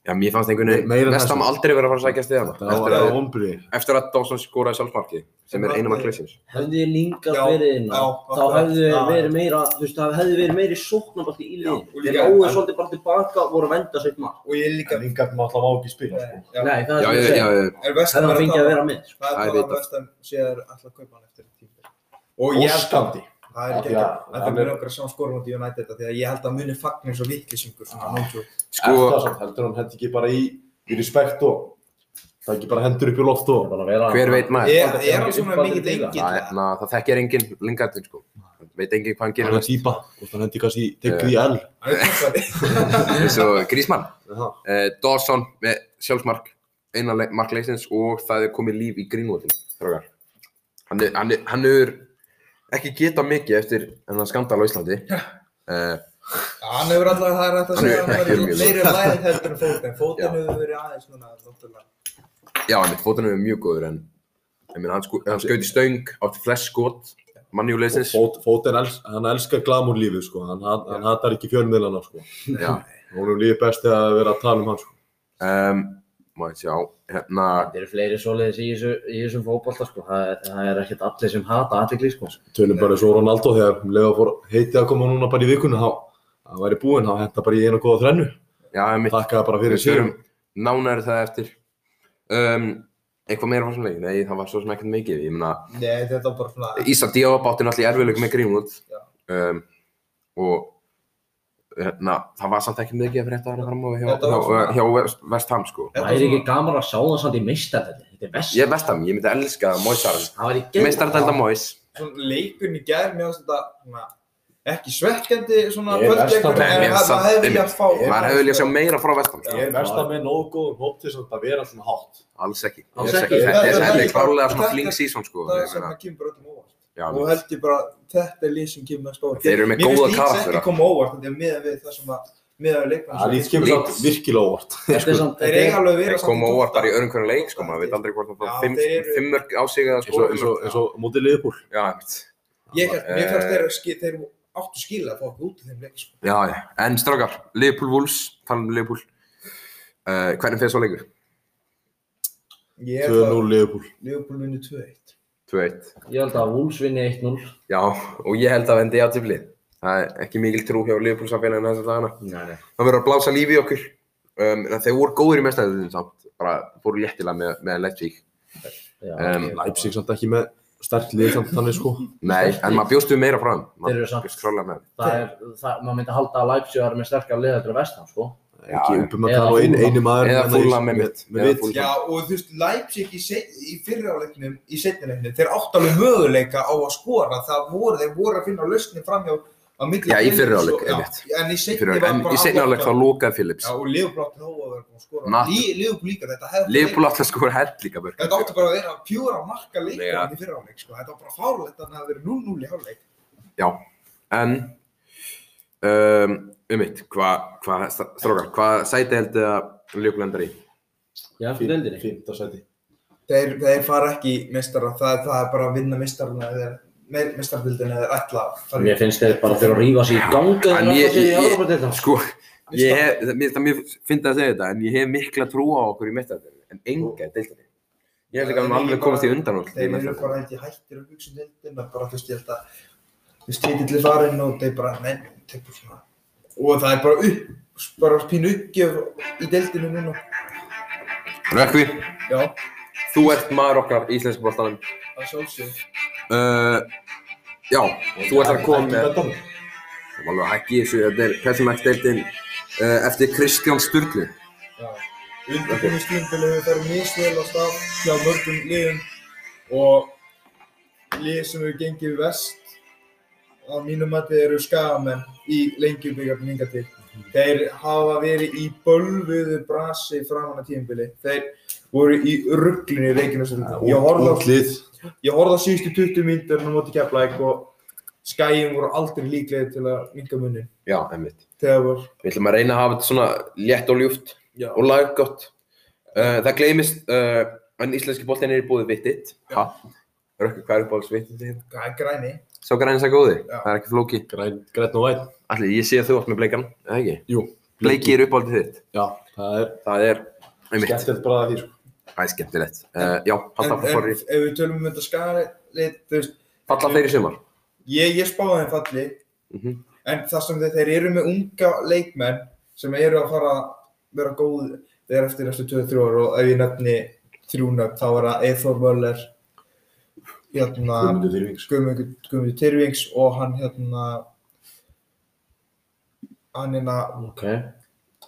Speaker 2: Já,
Speaker 1: já, mér fannst einhvern
Speaker 4: Me- meira
Speaker 1: veginn,
Speaker 4: en
Speaker 1: Vestam
Speaker 4: það, sko.
Speaker 1: aldrei verið að fara að sækja stiðana,
Speaker 4: Það
Speaker 1: eftir
Speaker 4: var
Speaker 1: að,
Speaker 4: ombriði.
Speaker 1: eftir að Dawson skoraði sjálfsmarkið, sem er einum af klessins.
Speaker 3: hefði ég lingast
Speaker 2: Já,
Speaker 3: verið inn á,
Speaker 2: já,
Speaker 3: þá
Speaker 2: akkurat,
Speaker 3: hefði
Speaker 2: já.
Speaker 3: verið meira, þú veist, það hefði verið meiri sóknabalti í
Speaker 2: Já, og
Speaker 3: liðin. Þeir
Speaker 2: líka-
Speaker 3: óið
Speaker 2: en-
Speaker 3: svolítið bara tilbaka og voru að venda sitt mark.
Speaker 2: og ég líka
Speaker 4: En Ingard má alltaf má ekki spila sko.
Speaker 2: Já.
Speaker 3: Nei, það
Speaker 1: Já,
Speaker 3: er
Speaker 1: já,
Speaker 3: það
Speaker 1: já,
Speaker 3: að
Speaker 1: já,
Speaker 2: er vestan
Speaker 3: hefði hann fengið að vera með. sko.
Speaker 2: það
Speaker 1: Það er
Speaker 2: er talað
Speaker 1: vitað.
Speaker 2: um vestan séðar alltaf kaupa hann eftir tíma og ég held að
Speaker 4: Óskandi.
Speaker 2: það er ekki ekki
Speaker 4: Já,
Speaker 2: þetta
Speaker 4: hann
Speaker 2: er
Speaker 4: er-
Speaker 2: mjög okkar að sjá skorum átt í United af því að ég held að muni fagna eins og vittlisingur
Speaker 4: Já.
Speaker 1: Sko-
Speaker 4: Eftir það samt heldur hann hendi ekki bara í, í respekt og það ekki bara hendur upp í loft og
Speaker 3: Bara vera-
Speaker 1: hver veit maður?
Speaker 2: er er hann svona
Speaker 3: Uppaldir
Speaker 2: mikill
Speaker 3: líka.
Speaker 2: engin
Speaker 1: Það, er- na, það þekkir enginn lingatinn sko. Veit enginn hvað hann
Speaker 4: hann
Speaker 1: gerir
Speaker 4: er típa. Hvort hann hendi kannski tekið í L.
Speaker 1: eins og Grísmann.
Speaker 4: Já.
Speaker 1: Uh, Dawson með sjálfsmark, eina le- mark leysins og það er komið líf í Greenwoodin. strákar. Hann er, hann, er, hann er ekki geta mikið eftir þennan skandal á Íslandi. Uh,
Speaker 2: hann hefur alltaf það er hægt að
Speaker 1: Hann
Speaker 2: segja
Speaker 1: er
Speaker 2: að hann
Speaker 1: ekki
Speaker 2: hefur
Speaker 1: mjög
Speaker 2: meiri læð heldur en fótinn
Speaker 1: Já.
Speaker 2: fótinn hefur verið aðeins núna náttúrulega
Speaker 1: já, en fótunum er mjög góður en ég meina, hann, sko, hann skaut í stöng, átti flest skot, manni úr leysins.
Speaker 4: Fót, fótinn, els, hann elskar glamúrlífið sko, hann, hann, hann hatar ekki fjölmiðlana sko.
Speaker 1: Já,
Speaker 4: Hún líður best þegar það er verið að tala um hann sko.
Speaker 1: um, maður sjá, hérna,
Speaker 3: Það eru fleiri svoleiðis í, þessu, í þessum fótbolta sko, það, það er ekkert allir sem hata aðtegli sko.
Speaker 4: Tölum bara svo Ronaldo þegar um leið að fór heitið að koma núna bara í vikunni, þá það væri búinn, þá henta bara í eina góða þrennu.
Speaker 1: já, mitt.
Speaker 4: Takkaði bara fyrir
Speaker 1: Við
Speaker 4: sérum.
Speaker 1: séum nánæri það eftir. Um, eitthvað meira fórsumleik? Nei, það var svo sem ekkert mikið. Ég meina,
Speaker 2: Nei, þetta var bara svona
Speaker 1: Ísa Díaba bátti náttúrulega í erfiðleikum með Greenwood.
Speaker 2: Já.
Speaker 1: Um, og hérna, það var samt ekki mikið að frétta þarna fram á við hjá,
Speaker 2: Þetta
Speaker 1: hjá,
Speaker 2: var svona-
Speaker 1: hjá West, West Ham, sko.
Speaker 2: Þetta
Speaker 3: Það
Speaker 2: var
Speaker 3: er ekki
Speaker 2: svona-
Speaker 3: gaman að sjá það samt í meistardeldi, þetta er vest.
Speaker 1: Ég er West Ham, ég myndi elska Moisaran.
Speaker 3: Það var í gegn.
Speaker 1: Meistardelda Mois.
Speaker 2: svona leikun í gær, mér finnst þetta svona, ekki svekkjandi svona
Speaker 4: Ég er
Speaker 2: kvöldleikur,
Speaker 4: versta-
Speaker 1: Nei, mér
Speaker 2: en
Speaker 1: finnst
Speaker 2: maður
Speaker 1: samt-
Speaker 2: hefði viljað fá
Speaker 4: Ég-
Speaker 1: Maður hefur viljað sjá meira frá West Ham. sko.
Speaker 4: Ég er versta með nógu góðum hóp til samt að vera svona hátt.
Speaker 1: Alls ekki.
Speaker 3: Alls
Speaker 1: Alls
Speaker 3: ekki.
Speaker 1: ekki. Þetta er-
Speaker 2: Þetta-
Speaker 1: þetta er klárlega svona
Speaker 2: þetta-
Speaker 1: fling season, sko.
Speaker 2: það
Speaker 1: ég
Speaker 2: sem
Speaker 1: meina.
Speaker 2: að kemur öllum óvart
Speaker 1: Já,
Speaker 2: og held ég bara þetta er lið sem kemur mest óvart
Speaker 1: Þeir eru með
Speaker 2: Mér
Speaker 1: góða
Speaker 2: finnst Leeds
Speaker 1: karaktera.
Speaker 2: ekki koma óvart þetta er miðað við það sem að miðað við leikmenn
Speaker 4: Það lýtt kemur samt virkilega óvart.
Speaker 3: Þetta er samt,
Speaker 2: þeir
Speaker 3: þetta
Speaker 2: eiga
Speaker 3: er,
Speaker 2: alveg að vera
Speaker 1: Þeir
Speaker 2: samt í
Speaker 1: koma óvart bara í
Speaker 2: tólfta.
Speaker 1: öðrum hvernig leik, sko. Maður veit aldrei hvort það
Speaker 2: Já,
Speaker 1: fá fimm,
Speaker 2: þeir eru-
Speaker 1: fimm mörg á sig eða
Speaker 4: Eins og,
Speaker 1: sko.
Speaker 4: eins og, eins og mótið Liverpool.
Speaker 1: Já, einmitt.
Speaker 2: ég held, mér fannst
Speaker 1: Eh.
Speaker 2: þeir, að ski- þeir áttu skila að fá okkur út í þeim leik sko.
Speaker 1: Já, já. En strákar, Liverpool Wolves, tala um Liverpool. Uh, hvernig fyrir svo leikur?
Speaker 2: ég held að
Speaker 4: 2-0 Liverpool.
Speaker 2: Liverpool vinni 2-1
Speaker 1: 2-1.
Speaker 3: ég held að Wolves vinni 1-0.
Speaker 1: Já, og ég held að vendi á tiflið. Það er ekki mikil trú hjá Liverpool samfélaginu þessa dagana.
Speaker 3: Nei, nei.
Speaker 1: Það verður að blása lífi í okkur. Um, en þeir voru góðir í mestæðinu samt. Bara fóru léttilega með, með Leipzig.
Speaker 3: Já,
Speaker 1: Um,
Speaker 3: ég-
Speaker 4: Leipzig samt ekki með sterkt lið samt þannig sko.
Speaker 1: Nei, en maður bjóst við meira frá þeim.
Speaker 3: Þeir eru
Speaker 1: Maður
Speaker 3: samt-
Speaker 1: bjóst klálega með þeim.
Speaker 3: Það er, það, maður myndi halda að Leipzig var með sterkar liða til að vestan sko.
Speaker 4: Ekki
Speaker 1: já.
Speaker 4: uppi með
Speaker 3: Eða
Speaker 4: kann og ein,
Speaker 3: Fulham.
Speaker 4: eini maður.
Speaker 1: Eða
Speaker 4: með-
Speaker 1: Fulham einmitt.
Speaker 4: Með
Speaker 1: Eða
Speaker 4: vitt.
Speaker 1: Fulham.
Speaker 2: Já, og þú veist, Leipzig í, se- í fyrraáleiknum, í setnileiknum, þeir átt alveg möguleika á að skora, það voru, þeir voru að finna lausni framhjá á milli.
Speaker 1: Já, í
Speaker 2: Phillips
Speaker 1: fyrri hálfleik,
Speaker 2: og-
Speaker 1: einmitt.
Speaker 2: Já, en í setni
Speaker 1: Fyrir,
Speaker 2: var bara...
Speaker 1: en í seinna áleik þá lókaði Phillips.
Speaker 2: Já, og Liverpool átti þá að vera búin að skora.
Speaker 1: Matt-
Speaker 2: Lí, Liverpool líka, þetta hefði...
Speaker 1: Liverpool alltaf skora held líka mörg.
Speaker 2: Þetta átti bara að vera pjúra marka
Speaker 1: Nei, ja.
Speaker 2: leikar í fyrraáleik, sko, þetta var bara fárlegt að það hefði verið 0-0 í hálfleik.
Speaker 1: Já, en um, um mitt, hvað, hva, strákar, hvað sæti heldur að Liverpool endar í?
Speaker 3: Ég held að deildinni.
Speaker 4: Fimta sæti.
Speaker 2: þeir, þeir fara ekki í meistara, það, það er bara að vinna meistarana eða meistarabildinu eða ætla að fara í-
Speaker 3: Mér finnst þeir bara þurfa að rífa sér í ganga
Speaker 1: En
Speaker 3: þegar
Speaker 1: ég-
Speaker 3: það sér í
Speaker 1: ég-
Speaker 3: Európa til
Speaker 1: Sko, ég hef, það- mér, það mér finnst að segja þetta, en ég hef mikla trú á okkur í meistaradeildinni, en enga í deildinni. Ég held ekki að hann alveg komast í undanúrslit í
Speaker 2: Þeir eru bara
Speaker 1: meistaradeildinni.
Speaker 2: held ég hættir að hugsa um deildina, bara þú veist, ég held að þú veist, titill er farinn og þeir bara, nei, þeir bara svona og það er bara upp, bara pínu uppgjöf í deildinu núna
Speaker 1: Rökkvi,
Speaker 2: Já,
Speaker 1: þú ert maður okkar í íslensku bóltanum.
Speaker 2: það sjálfsög
Speaker 1: Uh, já, þú ert að koma með,
Speaker 4: með
Speaker 1: það var alveg að hækki í þessu, þetta er Pessumæks-deildin uh, eftir Kristján Sturlu.
Speaker 2: Undirbúinustíðinbili hefur farið misvel á stað hjá mörgum liðum og lið sem hefur gengið vest á mínum mati eru skagamenn í lengjubikarnum hinga til. Þeir hafa verið í bölvuðu brasi framan að tíðinbili. Þeir voru í rugglinu í reikinu sem þetta. Ég horfði á
Speaker 4: Útlið,
Speaker 2: ég horfði á síðustu 20 myndurinn á móti Keflæk og skæjum voru aldrei líklegir til að minga munnin.
Speaker 1: Já, einmitt.
Speaker 2: Þegar var
Speaker 1: Við ætlum að reyna að hafa þetta svona létt og ljúft
Speaker 2: Já.
Speaker 1: og laggott. Uh, það gleymist, uh, en íslenski bóltin er í búið vittitt. Ha? Rökkvi, hvað er uppáhalds vittitt þín?
Speaker 2: græ- græni.
Speaker 1: Sá grænis að góði?
Speaker 2: Já.
Speaker 1: Það er ekki flóki.
Speaker 4: græn, græn og væn.
Speaker 1: Allir, ég sé að þú átt með bleikan, eða ekki?
Speaker 4: Jú.
Speaker 1: Bleiki er uppáhaldið þitt.
Speaker 4: Já, það er
Speaker 1: Það er, einmitt,
Speaker 4: skemmtilegt bara að því, sko.
Speaker 1: það er skemmtilegt. Uh, já, hann
Speaker 2: En,
Speaker 1: tapar
Speaker 2: en
Speaker 1: fyrir,
Speaker 2: ef við tölum um þetta skæli, þú veist,
Speaker 1: falla þeir í sumar.
Speaker 2: ég, ég spáði þeim falli
Speaker 1: Mhm.
Speaker 2: en það sem þeir, þeir eru með unga leikmenn sem eru að fara að vera góð þeir eftir næstu 2-3 ár og ef ég nefni þrjúnöfn þá er það Eithor Möller hérna
Speaker 4: Guðmundur Þyrfings.
Speaker 2: Guðmundur Guðmundur Tyrfings og hann hérna hann hérna
Speaker 3: Ok.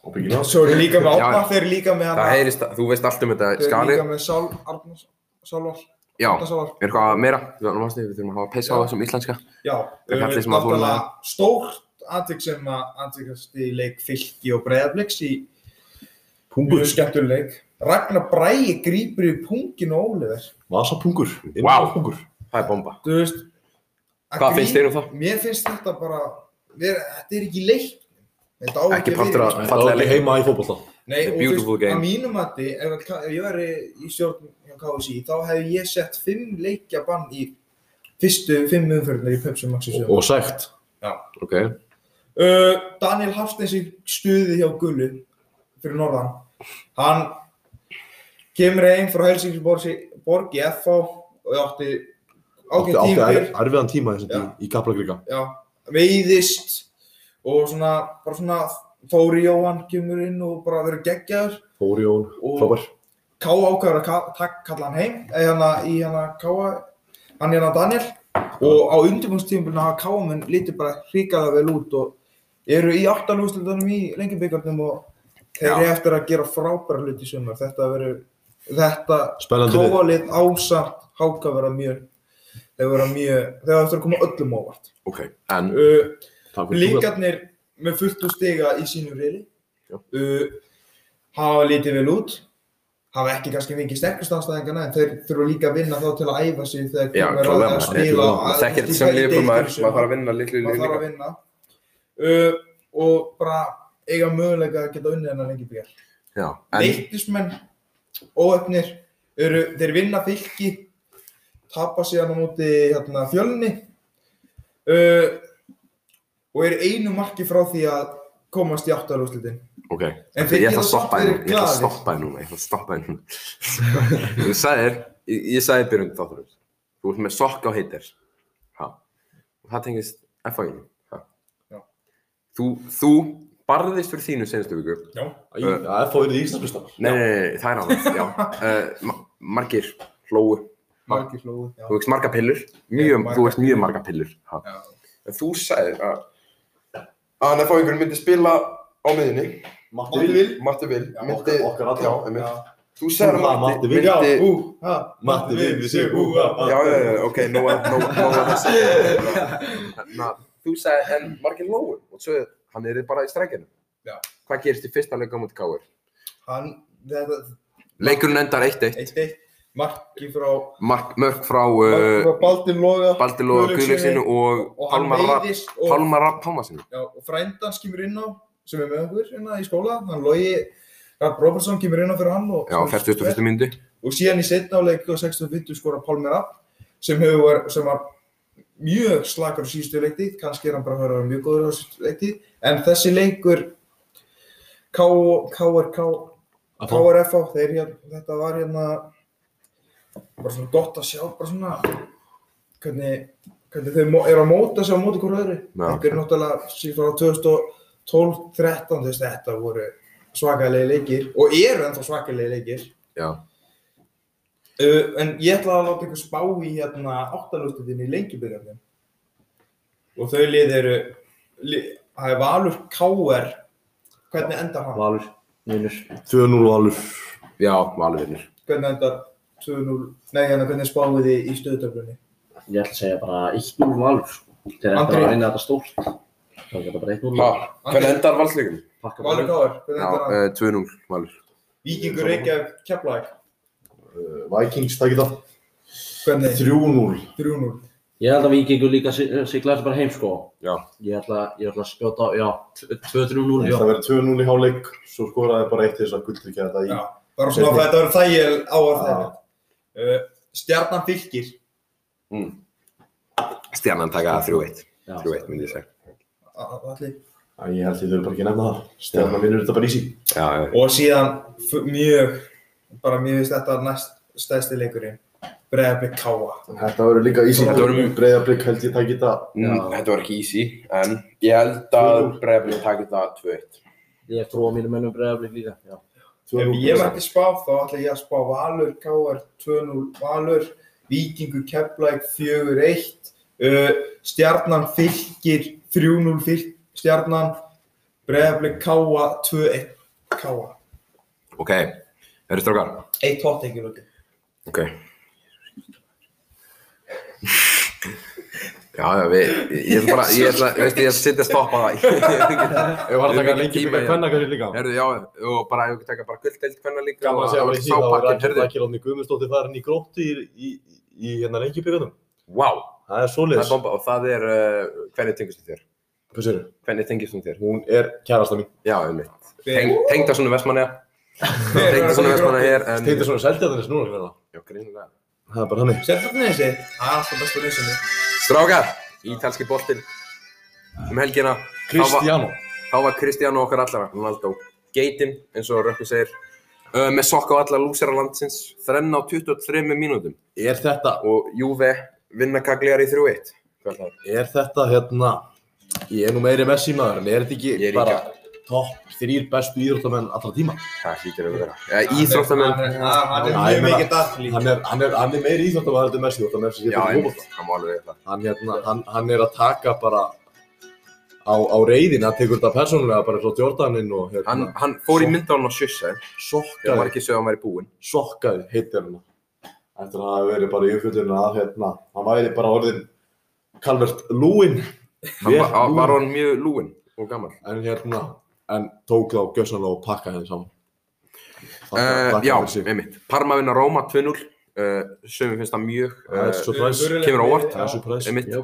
Speaker 4: Og byggina.
Speaker 2: svo eru líka með
Speaker 1: Já,
Speaker 2: Átna,
Speaker 1: já.
Speaker 2: þeir eru líka með
Speaker 1: Það
Speaker 2: hann
Speaker 1: heyrist, þú veist allt um þetta
Speaker 2: þeir eru
Speaker 1: skali.
Speaker 2: líka með Sál Arnars Sálvar
Speaker 1: Já,
Speaker 2: Arnar
Speaker 1: er
Speaker 2: Sálvar
Speaker 1: eitthvað meira? Við erum við þurfum að hafa peysa á
Speaker 2: Já.
Speaker 1: þessum íslenska.
Speaker 2: Já,
Speaker 1: Það er allir sem að fóru með
Speaker 2: náttúrulega stórt atvik sem að atvikast í leik fylki og breyðabliks í mjög skemmtuleg leik. Ragnar Bræi grýpur í pungin og Óliver.
Speaker 4: Vasapungur.
Speaker 1: Vá.
Speaker 4: Pungur.
Speaker 1: Það er bomba.
Speaker 2: Þú veist, að
Speaker 1: Hvað finnst þér um það?
Speaker 2: Mér finnst þetta bara, mér, þetta er ekki leik. Þetta á
Speaker 1: Ekki
Speaker 2: ekki að vera í
Speaker 1: partur af-
Speaker 2: leik.
Speaker 4: Það
Speaker 1: Fallega
Speaker 4: er ekki
Speaker 1: leikmenn.
Speaker 4: heima í fótbolta.
Speaker 2: Nei,
Speaker 1: The
Speaker 2: og
Speaker 1: beautiful game.
Speaker 2: að mínu mati, ef, að K- ef ég væri í stjórn hjá KSI, þá hef ég sett fimm leikja bann í fyrstu fimm umfyrirna í Pepsi Maxi
Speaker 4: Og-
Speaker 2: sjöfum.
Speaker 4: Og sækt.
Speaker 1: Ok.
Speaker 2: Uh, Daniel Hafsteins í stuði hjá Gullu fyrir norðan hann kemur einn frá Helsingiborg í FH og átti
Speaker 4: Átti
Speaker 2: ákveðin
Speaker 4: átti
Speaker 2: tímpir
Speaker 4: er- erfiðan tíma
Speaker 2: Já.
Speaker 4: þessum tíma í Kaplagrika.
Speaker 2: já, veiðist og svona, bara svona Þóri Jóhann kemur inn og bara verður geggjaður
Speaker 4: Þóri Jón,
Speaker 2: Og-
Speaker 4: frábær.
Speaker 2: Ká ákveður að ka- tak- kalla hann heim eða hana, í hana Káa hann hérna Daniel og á undirbúrstíðumbilinu hafa Káa menn lítið bara hríkaða vel út og eru í aftanúslutunum í lengjubikarnum og þeir eru eftir að gera frábæra hluti í sumar þetta verður þetta
Speaker 4: Spennandi lið.
Speaker 2: Káa-lið ásamt Háka vera mjög þeir vera mjög þeir eru eftir að koma öllum ávart
Speaker 1: Ok. En,
Speaker 2: uh,
Speaker 4: Takk fyrir túkall.
Speaker 2: Blíkarnir með fullt úr stiga í sínum reyli
Speaker 1: Já.
Speaker 2: uh, hafa lítið vel út hafa ekki kannski mikið sterkust anstæðingana en þeir þurfa líka að vinna þá til að æfa sig þegar
Speaker 1: Já,
Speaker 2: kemur að,
Speaker 1: klálega,
Speaker 2: að
Speaker 1: maður.
Speaker 2: spila
Speaker 4: Þetta er-
Speaker 2: að-
Speaker 1: maður þekkir
Speaker 2: að
Speaker 1: þetta sem
Speaker 2: spila í
Speaker 1: liðbúr maður,
Speaker 2: deildum
Speaker 1: maður þarf
Speaker 2: sem-
Speaker 1: að vinna litlu
Speaker 2: maður
Speaker 1: liðin
Speaker 2: þarf
Speaker 1: líka.
Speaker 2: að vinna uh, og bara eiga möguleika að geta unnið hennar lengi bíl
Speaker 1: Já, en,
Speaker 2: Leittismenn óöfnir eru, þeir vinna fylki tapa síðan á móti hérna, fjölni uh, og eru einu marki frá því að komast í áttarúslitin
Speaker 1: ok,
Speaker 2: En
Speaker 1: ég ætla
Speaker 2: þeir geta
Speaker 1: að stoppa
Speaker 2: samt
Speaker 1: þér núna, ég ætla að stoppa
Speaker 2: verið glaðir.
Speaker 1: þér núna, ég ætla að stoppa þér núna. Þú sagðir, ég, ég sagði í byrjun þátturins, þú ert með sokk á heitir, ha, og það tengist F-faginu, ha.
Speaker 2: Já.
Speaker 1: Þú, þú barðist fyrir þínu senstu viku.
Speaker 2: Já,
Speaker 4: Æ, Það er fórið í Íslandsbyrstanar.
Speaker 1: Nei, nei, nei, það er annað, já. Uh, ma margir hlóu,
Speaker 2: marki flóðu já.
Speaker 1: þú veist marga pillur,
Speaker 2: Já,
Speaker 1: mjög,
Speaker 2: margar
Speaker 1: þú veist mjög marga pillur, ha.
Speaker 2: Já.
Speaker 1: En þú sagðir að, að hann F-faginu myndi spila á miðunni,
Speaker 4: Matti
Speaker 2: Matti Vil
Speaker 1: Matti Vil
Speaker 4: Já,
Speaker 1: myndi,
Speaker 4: okkar- okkar allra.
Speaker 1: já, einmitt. þú segir að
Speaker 4: Ha,
Speaker 1: Matti,
Speaker 4: Matti
Speaker 1: myndi,
Speaker 2: Já,
Speaker 4: Vil,
Speaker 2: hú, ha,
Speaker 4: Matti Vil, við séum hú, ha, ha.
Speaker 1: já, já, já, ok, nú er nú er- nú er þessi Na, þú segir, en margir lóu og svo hann er bara í strækinu
Speaker 2: Já.
Speaker 1: hvað gerist í fyrsta leika á mútið Káir?
Speaker 2: Hann, þetta,
Speaker 1: leikurinn endar 1-1
Speaker 2: eitt eitt marki frá,
Speaker 1: Mark- mörk frá
Speaker 2: marki
Speaker 1: uh,
Speaker 2: frá Baldur Loga
Speaker 1: Baldur Lóa Guðlöksinu og
Speaker 2: og hann
Speaker 1: Pálmar Rapp
Speaker 2: veiðist og
Speaker 1: Pálmar Rapp Pálmarsinu
Speaker 2: Já, og frændan kemur inn á, sem er með okkur hérna í skóla, hann Logi Rapp Robertson kemur inn á fyrir hann og
Speaker 1: já, 41. mínúti
Speaker 2: og síðan í setna áleik á 65 skora Pálmer App sem, hefur var, sem var mjög slakar á síðustu leiktið, kannski er hann bara að vera mjög góður á síðustu leiktið, en þessi leikur K- KRK
Speaker 4: Að fá-
Speaker 2: KRF á, þeir hér, þetta var hérna bara svona gott að sjá bara svona hvernig, hvernig þeir mó- eru að móta sig á móti hverju öðru
Speaker 1: Já.
Speaker 2: þetta er náttúrulega síðan frá 2012-13 þess að þetta voru svakalegi leikir og eru ennþá svakalegi leikir
Speaker 1: Já.
Speaker 2: uh, en ég ætla að láta ykkur spá í hérna áttalústuðinni í lengjubyrjarnum og þau lið eru li, það er Valur KR hvernig endar hann?
Speaker 3: Valur, vinnur.
Speaker 4: 2-0 alveg.
Speaker 1: Já, valvinnir.
Speaker 2: hvernig endar 2-0, nei hérna hvernig spáðu þið í stöðutöflunni
Speaker 3: Ég ætla að segja bara 1-0 Valur. sko. Þeir ætla bara
Speaker 2: Andri.
Speaker 3: að vinna þetta stórt. Það er þetta bara 1-0
Speaker 1: Ha,
Speaker 3: Valur.
Speaker 1: hvernig endar valsleikum?
Speaker 3: Pakka bara
Speaker 2: Valur
Speaker 3: upp.
Speaker 2: KR, hvernig
Speaker 1: Já,
Speaker 2: endar hann?
Speaker 1: eh, 2-0 valur.
Speaker 2: Víkingur Reykjavík, Keflæk,
Speaker 4: Uh, Vikings takir það.
Speaker 2: hvernig?
Speaker 4: 3-0.
Speaker 2: 3-0
Speaker 3: Ég held að Víkingur líka sig- sigla þessu bara heim sko.
Speaker 1: Já.
Speaker 3: Ég ætla, ég ætla að skjóta, á- já, 2-3-0, já.
Speaker 4: Það verður 2-0 í háleik, svo skoraði bara eitt til þess að gulltryggja þetta í.
Speaker 2: Já, bara svona að þetta verður þægjel á að þeirra uh, Stjarnan fylgir
Speaker 1: Mm. Stjarnan taka 3-1.
Speaker 3: Já.
Speaker 1: 3-1 myndi ég segja.
Speaker 2: allir
Speaker 4: En ég held ég þurfa bara ekki að nefna það. Stjarnan vinnur þetta bara í sín.
Speaker 1: Já, já.
Speaker 2: og síðan f- mjög bara mér finnst þetta næst stæðsti leikurinn Breiðablik Káa
Speaker 4: Þetta verður líka í sín.
Speaker 1: Þetta verður-
Speaker 4: Breiðablík held ég takir þetta.
Speaker 1: Mm,
Speaker 3: Já.
Speaker 1: þetta var ekki easy, en ég held að Breiðablík taki þetta 2-1.
Speaker 3: Ég trúa mínum mönnum bregðarblík líka, já.
Speaker 4: 2-0
Speaker 2: Ef ég
Speaker 4: Breiðablik.
Speaker 2: mætti spá þá ætla ég að spá Valur KR 2-0 Valur Víkingur Keflæk 4-1 uh, Stjarnan fylgir 3-0 fylg Stjarnan Breiðablik Káa 2-1 Káa
Speaker 1: Ok, eru strókar?
Speaker 2: Eitt hot ekki lóki
Speaker 1: Ok. Já, já, við, ég ætla bara, ég ætla, veistu, ég ætla að sitja að stoppa það.
Speaker 4: Ég var að taka
Speaker 1: Ég
Speaker 4: lengi
Speaker 1: tíma
Speaker 4: byggja
Speaker 1: í-
Speaker 4: kvenna kannski líka.
Speaker 1: Herðu, já, og bara, ef við tekja bara gulldeild hvernig líka.
Speaker 4: Gaman að segja að
Speaker 1: var
Speaker 4: við síðan að
Speaker 1: sápakkin,
Speaker 4: Rakel,
Speaker 1: herðu.
Speaker 4: Rakel Átni Guðmundsdóttir farin í gróttu í, í, í hérna lengi
Speaker 1: Vá,
Speaker 4: Það er
Speaker 1: það er
Speaker 4: svoleiðis.
Speaker 1: bomba og það er, uh, hvernig tengist þú þér?
Speaker 4: Hvað segir
Speaker 1: Hvernig tengist þú þér?
Speaker 4: Hún er kærasta mín.
Speaker 1: Já, um mitt. Tengda svona vestmanniða, tengda svona vestmanniða hér, en...
Speaker 4: Þetta er svona seldjarðinnes núna hérna.
Speaker 1: Já, grínulega.
Speaker 4: Það er bara hannig.
Speaker 2: Settur það nýðið sig Það er alltaf besta nýðið sinni
Speaker 1: Strákar, ítalski boltinn um helgina. Þá var-
Speaker 4: Kristjano.
Speaker 1: Þá var Kristján og okkar allara, Ronaldo, geitinn, eins og Rökkur segir, uh, með sokk á alla lúsera landsins, þrenn á 23 mínútum
Speaker 4: Er þetta,
Speaker 1: og Juve vinna kagliðar í 3-1. Hvað er það?
Speaker 4: er þetta hérna, ég er nú meiri Messi maður, en er þetta ekki
Speaker 1: Ég er
Speaker 4: bara topp þrýr bestu íþróttamenn allra tíma?
Speaker 1: Það hlýtur að vera. Ja, Íþróttamenn,
Speaker 2: Hann er- hann er
Speaker 4: Já, ég
Speaker 2: mjög
Speaker 4: meina-
Speaker 2: mikið dafli
Speaker 4: Hann er, hann er, hann er meiri íþróttamenn allra Messi, þetta Messi
Speaker 1: já,
Speaker 4: getur ekki
Speaker 1: einmitt,
Speaker 4: hópa.
Speaker 1: það má alveg vera það.
Speaker 4: Hann, hérna, hann, hann er að taka bara á, á reyðin, hann tekur þetta persónulega bara frá Jordaninn og hérna,
Speaker 1: Hann, hann fór í mynda hann á sjussa, það var
Speaker 4: sokkaði,
Speaker 1: ekki sögum að vera í búinn.
Speaker 4: sokkaði, heitir hann. Eftir að það hafi verið bara í umfjöldunum að hérna, hann væri bara orðinn Calvert Lúin.
Speaker 1: Hann var, á- var hann mjög lúinn og gammal.
Speaker 4: en hérna, en tók þá gjössanlega og pakka henni saman.
Speaker 1: Uh, já,
Speaker 4: fyrir sig.
Speaker 1: einmitt. Parma vinna Róma 2-0, uh, sögum finnst það mjög.
Speaker 4: Það er
Speaker 1: Uh,
Speaker 4: surprise,
Speaker 1: kemur á óvart.
Speaker 4: það er surprise.
Speaker 1: einmitt.
Speaker 3: Já.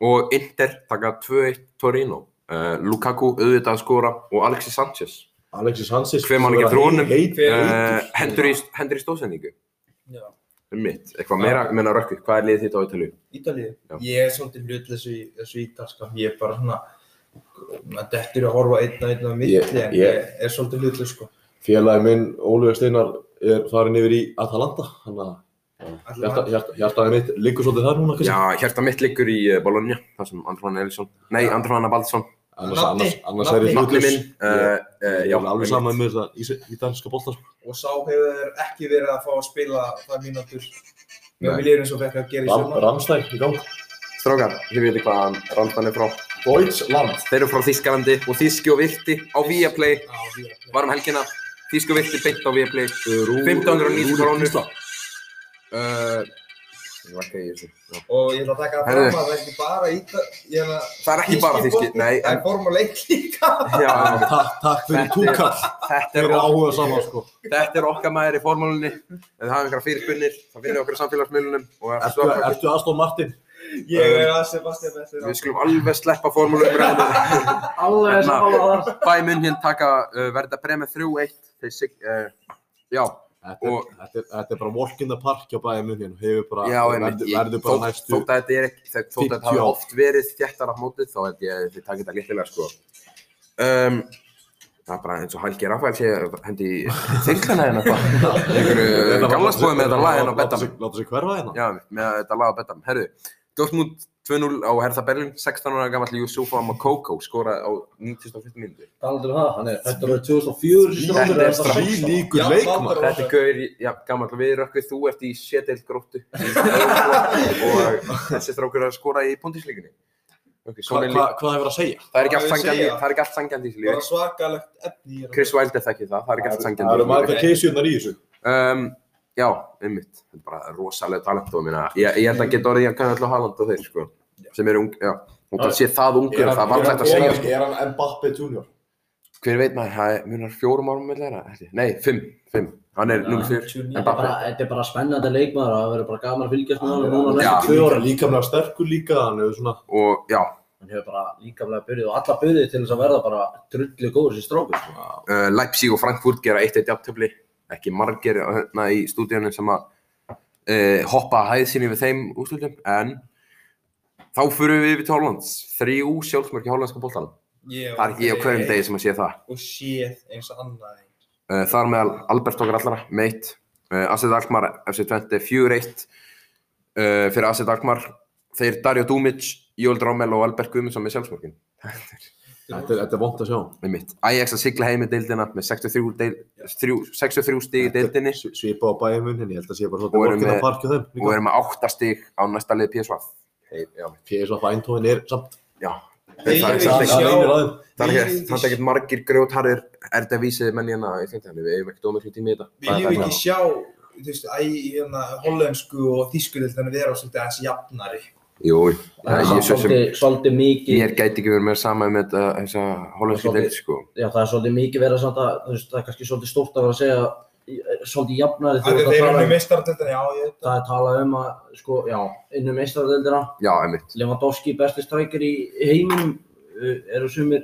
Speaker 1: og Inter taka 2-1 Torino uh, Lukaku auðvitað að skora og Alexis Sanchez
Speaker 4: Alexis Hansis.
Speaker 1: Hver man ekki
Speaker 4: sem er
Speaker 1: trúa honum?
Speaker 4: heit-
Speaker 2: Hver-
Speaker 1: uh,
Speaker 4: heitur.
Speaker 1: hendur, í, hendur í stóðsendingu
Speaker 2: Já.
Speaker 1: um mitt, eitthvað meira meina rökku, hvað er liðið þitt á Ítalíu?
Speaker 2: Ítalíu.
Speaker 1: Já.
Speaker 2: Ég er svolítið hlut þessu, í- þessu ítalska. Ég er bara svona, maður dettur í að horfa einn að einn að milli,
Speaker 4: Ég-
Speaker 2: en
Speaker 4: ég-
Speaker 2: ég er svolítið hlut sko.
Speaker 4: Félagi minn, Óluður Steinar, er farin yfir í Atalanta. Þannig að
Speaker 2: Ætli
Speaker 4: hjarta,
Speaker 2: hann-
Speaker 4: hjarta, hjartaði mitt liggur svolítið þar núna,
Speaker 1: Já,
Speaker 4: kannski.
Speaker 1: hjarta mitt liggur í eh, Bologna þar sem Andrón Elisson, nei Andrón Abaldsson
Speaker 4: Annars,
Speaker 2: Nafni,
Speaker 4: annars, annars
Speaker 2: nafni.
Speaker 4: er ég
Speaker 1: nafni
Speaker 4: hlutlaus.
Speaker 1: minn uh, uh,
Speaker 4: Ég
Speaker 1: já,
Speaker 4: er alveg um- saman með þetta ítalska boltar.
Speaker 2: Og sá hefur ekki verið að fá að spila það mínútur. Mér
Speaker 1: Nei.
Speaker 2: vil ég eins og fekk að gera í
Speaker 4: Ram,
Speaker 2: sumar.
Speaker 4: Ramstæk í gang.
Speaker 1: strákar, þið veitir hvaðan Randmann er frá
Speaker 4: Deutschland.
Speaker 1: þeir eru frá Þískalandi og Þíski og Virti á Viaplay,
Speaker 2: Já, því að-
Speaker 1: varum helgina Þíski og Virti beint á Viaplay
Speaker 4: Rú-
Speaker 1: 1590
Speaker 4: Rúrik
Speaker 1: krónur
Speaker 4: Gísla.
Speaker 1: uh, ég var ekki í þessu já.
Speaker 2: Og ég ætla að taka það
Speaker 1: Herðu.
Speaker 2: fram að það er ekki bara ítal... Ég er að...
Speaker 1: Það er ekki bara þíski,
Speaker 2: bolti,
Speaker 1: nei,
Speaker 2: Það
Speaker 1: en
Speaker 2: er formule 1 líka.
Speaker 1: já, já,
Speaker 4: Takk, takk fyrir
Speaker 1: Þetta er-
Speaker 4: túkall.
Speaker 1: þetta,
Speaker 4: Þeir
Speaker 1: er
Speaker 4: eru
Speaker 1: ok,
Speaker 4: áhuga saman, sko.
Speaker 1: þetta er okkar maður í formálunni, en það er einhverja fyrirbunir, það finnir okkar í samfélagsmiðlunum og það er
Speaker 4: Ertu,
Speaker 1: svo okkar.
Speaker 4: ertu Aston Martin?
Speaker 2: Ég er að Sebastian Vestir á.
Speaker 1: Við skulum alveg sleppa formálunum,
Speaker 3: Alveg
Speaker 1: Hérna.
Speaker 3: sammála þar.
Speaker 1: bæ munn hérna taka uh, verða bremið 3-1, þeir sig, uh, já,
Speaker 4: Þetta,
Speaker 1: Og-
Speaker 4: er, þetta, er, þetta er bara walk in the park hjá bæði munnin og hefur bara,
Speaker 1: Já, en
Speaker 4: verður,
Speaker 1: ég-
Speaker 4: verður bara
Speaker 1: þótt-
Speaker 4: næstu
Speaker 1: Þótt að þetta er ekki, þótt að þetta
Speaker 4: 50
Speaker 1: hafi
Speaker 4: ár.
Speaker 1: oft verið þjættar af mótið, þá held ég að þið takir þetta léttilega, sko. Um, það er bara eins og Helgi Rafael sé að hendi í þenglana hérna eitthvað. Einhverju gamla spóðið með þetta lag hérna á
Speaker 4: Láta
Speaker 1: Bettam.
Speaker 4: sig- Láta sig hverfa hérna?
Speaker 1: Já, með þetta lag á Bettam. Herðu, Dortmund 2-0 á Hertha Berlin, 16 ára gammal Yusufa Makoko skoraði á 95. mínúti.
Speaker 3: Talandi um það, hann er fættur árið
Speaker 1: Þetta er
Speaker 3: 2004 strákur, er alltaf
Speaker 1: strax.
Speaker 4: Því
Speaker 3: 16.
Speaker 4: líkur
Speaker 2: Já,
Speaker 4: leikmann.
Speaker 2: Valdur-
Speaker 1: Þetta er gaur, í- já, gammal við rökkvið, þú ert í séteild gróttu í Evrópu og þessi strákur er að skora í Bundesligaunni. Okay,
Speaker 4: Hva-
Speaker 1: svona er
Speaker 4: hva- Hvað hefur að segja?
Speaker 1: Það er ekki allt
Speaker 2: Hvað á ég að
Speaker 1: sangjandi,
Speaker 2: segja?
Speaker 1: það er ekki allt sangjandi í þessu
Speaker 2: Bara
Speaker 1: lífi.
Speaker 2: svakalegt efni í
Speaker 1: Chris Wilde er það ekki það, það er ekki allt
Speaker 4: Það eru
Speaker 1: sangjandi í
Speaker 4: margar keisjurnar í þessu.
Speaker 1: þessu lífi. Um, já, einmitt, þetta er bara rosalega talent og minna, ég, ég held að geta orðið í að kannu öllu Haaland og þeir, sko, sem eru ung, já. Og það sé það ungur, það var hægt að segja, sko.
Speaker 4: Er hann Mbappe junior?
Speaker 1: Hver veit maður, það er- munar fjórum árum með þeirra, held ég. nei, fimm, fimm, hann er 0-4.
Speaker 3: Þetta er bara- þetta er bara spennandi leikmaður og það verður bara gaman að fylgjast með honum núna
Speaker 1: Já.
Speaker 3: næstu tvö
Speaker 4: Líka,
Speaker 3: ára.
Speaker 4: líka með sterkur líka, hann hefur svona
Speaker 1: Og já,
Speaker 3: Hann hefur bara líkamlega byrjuð og alla byrjuð til þess að verða bara drullu góður sem strókur. Sko.
Speaker 1: uh, Leipzig og Frankfurt gera 1-1 jafntöfli, ekki margir hérna í stúdíunum sem að uh, hoppa að hæð sinni við þeim úrslutum, en þá fyrir við yfir til Hollands, þrjú sjálfsmörk í hollandska boltanum. Það er ekki ég á hverjum degi sem að sé það.
Speaker 2: Og séð eins og annað eins.
Speaker 1: Uh, þar meðal Albert okkar allara, meitt, uh, Asset Alkmaar, FC 20, 4-1 uh, fyrir Asset Alkmaar, þeir Dario Dumic, Jóld Rommel og Albert Guðmundsson með sjálfsmörkin.
Speaker 4: Þetta er- þetta er vont að sjá.
Speaker 1: Með mitt. Ajax að sigla heim í deildina með 63, deil, 3, 63 stig í deildinni
Speaker 4: Svi- Svipa á bæði munnin, ég held að sé bara
Speaker 1: Og
Speaker 4: svona
Speaker 1: erum
Speaker 4: Walk in the
Speaker 1: með-
Speaker 4: park hjá þeim.
Speaker 1: og
Speaker 4: líka.
Speaker 1: erum með 8 stig á næsta lið PSV. Hey, já,
Speaker 4: PSV Eindhoven er samt
Speaker 1: já. Það
Speaker 2: Þeir
Speaker 1: er
Speaker 2: vilja
Speaker 1: samt
Speaker 4: samt
Speaker 1: ekki-
Speaker 4: að
Speaker 2: sjá-
Speaker 4: reynir að þeim.
Speaker 1: það er ekkert- það er ekkert margir grjótharðir erdavísið menn hérna í þetta, við eigum ekkert ómiklu tími í þetta. Það er
Speaker 2: Viljum
Speaker 1: það.
Speaker 2: ekki sjá, þú veist, æ, hérna, hollensku og þýsku deildina vera svolítið aðeins jafnari.
Speaker 1: Jú, jú.
Speaker 3: Það er
Speaker 1: ég, svo sem,
Speaker 3: svolítið, svolítið mikið,
Speaker 1: ég gæti ekki verið meira sama með þetta, þessa hollensku
Speaker 3: Það er
Speaker 1: deild, sko.
Speaker 3: já það er svolítið mikið verið samt að, þú veist, það er kannski svolítið stórt að vera að segja eh, svolítið
Speaker 2: Það er
Speaker 3: jafnari þú
Speaker 2: þeir
Speaker 3: ert að
Speaker 2: eru
Speaker 3: tala um,
Speaker 2: meistardeltina, já, ég veit það.
Speaker 3: það er talað um að, sko, já, innum meistaradeildina,
Speaker 1: Já, einmitt.
Speaker 3: Lewandowski besti strækir í heiminum, eh, eru sumir,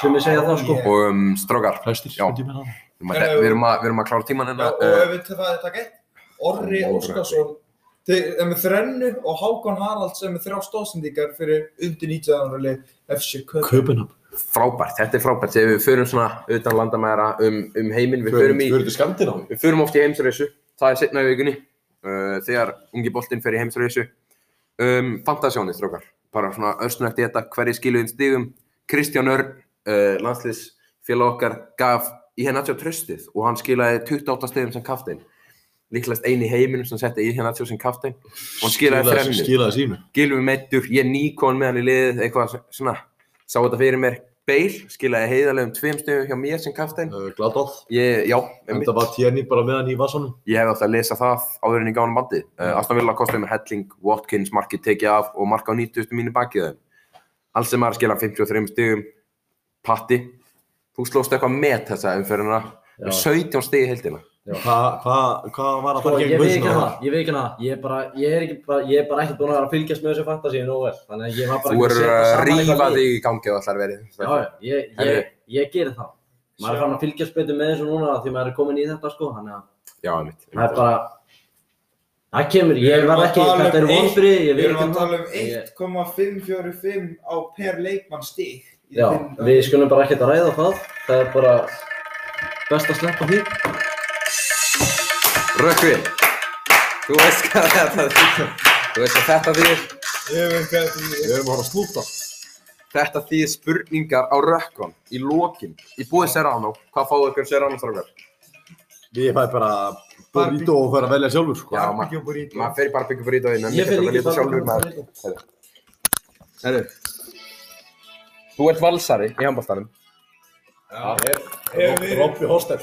Speaker 3: sumir segja það, sko.
Speaker 2: ég-
Speaker 1: Og um, strákar,
Speaker 4: Flestir,
Speaker 1: Já.
Speaker 4: myndi ég meina það.
Speaker 1: við erum að- við erum að, við erum að klára tíman
Speaker 2: Já,
Speaker 1: hérna.
Speaker 2: og
Speaker 1: eh,
Speaker 2: ef við tökum að taka eitt, Orri
Speaker 1: Ó,
Speaker 2: Óskarsson þeir er með þrennu og Hákon Haralds er með þrjá stóðsendingar fyrir undir 19 ára leið FC Köpen.
Speaker 4: Köpenhamn.
Speaker 1: Frábært, þetta er frábært. Þegar við förum svona utan landamæra um, um heiminn, við förum í
Speaker 4: Förum til Skandinavíu.
Speaker 1: Við förum oft í heimsreysu, það er setna í vikunni, uh, þegar ungi boltinn fer í heimsreysu. Um, Fantasjónið, strókar, bara svona örsnögt í þetta, hverji skiluðin stígum. Kristján Örn, uh, landsliðsfélag okkar, gaf í hennatsjó tröstið og hann skilaði 28 stígum sem kaftin. Líklast eini í heiminum sem setti í hennatsjó sem kaftin. Og hann skilaði
Speaker 4: Skilaði-
Speaker 1: þrennu.
Speaker 4: Skilaði sínu.
Speaker 1: Gilvi meittur, ég nýkon með hann í liðið, eitthvað svona, sá þetta fyrir mér. Beil skilaði heiðarlegum tveim stígum hjá mér sem kaftin.
Speaker 4: Uh, Gladolf.
Speaker 1: Ég, já, einmitt.
Speaker 4: Þetta var Tierney bara með hann í vasanum.
Speaker 1: Ég hef alltaf að lesa það áður en ég gáði bandið.
Speaker 3: Mm.
Speaker 1: Uh, Aston Villa kostið með Helling, Watkins, markið tekið af og marka á 90. mínu bakið þeim. Alls sem er að skila 53 stigum. Patti, þú slóst eitthvað með þessa umferðina.
Speaker 3: Já.
Speaker 1: Með 17 stig í heildina.
Speaker 4: Hvað hva, hva var að
Speaker 3: Sko,
Speaker 4: fara
Speaker 3: ég
Speaker 4: gegn
Speaker 3: veit ekki
Speaker 4: bussinu?
Speaker 3: hana, ég veit ekki hana, ég er bara, ég er ekki bara, ég er bara ekki búin að vera að fylgjast með þessu fantasíu nógu vel, þannig að ég var
Speaker 1: Þú
Speaker 3: bara ekki
Speaker 1: eru
Speaker 3: setja
Speaker 1: að
Speaker 3: saman
Speaker 1: rífa
Speaker 3: eitthvað lið.
Speaker 1: þig í gangi á allar verið.
Speaker 3: Já, já, ég,
Speaker 1: Herri.
Speaker 3: ég, ég gerir það. Maður er fann að fylgjast betur með þessu núna því maður er komin í þetta sko, þannig að
Speaker 1: Já, einmitt.
Speaker 3: það er bara, það kemur, ég var ekki, þetta er vonfrið, ég
Speaker 2: um Við
Speaker 3: veit
Speaker 2: erum
Speaker 3: ekki
Speaker 2: að tala um
Speaker 3: Ég-
Speaker 2: 1,545 á per leikmann stig. í
Speaker 3: Já,
Speaker 2: þeim-
Speaker 3: við skulum bara ekkert að ræða það, það er bara best að sleppa því.
Speaker 1: Rökkvi, þú veist hvað þetta þýr. Þú veist hvað þetta þýr.
Speaker 2: Ég veit hvað þetta
Speaker 4: Við erum að fara að slúta.
Speaker 1: Þetta þýðir spurningar á rökkvan í lokin. Í búið Serrano, hvað fáðu ykkur Serrano strákar?
Speaker 4: Ég fæ bara burrito og fer að velja sjálfur. Sko.
Speaker 1: Já,
Speaker 2: er.
Speaker 1: maður-
Speaker 2: Barbecue burrito.
Speaker 1: maður fer í barbecue burrito inn en
Speaker 3: Ég fer
Speaker 1: mikið
Speaker 3: líka
Speaker 1: þetta sjálfur
Speaker 3: bara
Speaker 1: maður Herru Þú ert valsari í handbóltanum
Speaker 4: Það er-
Speaker 2: Hefur verið.
Speaker 4: Robby Hostel.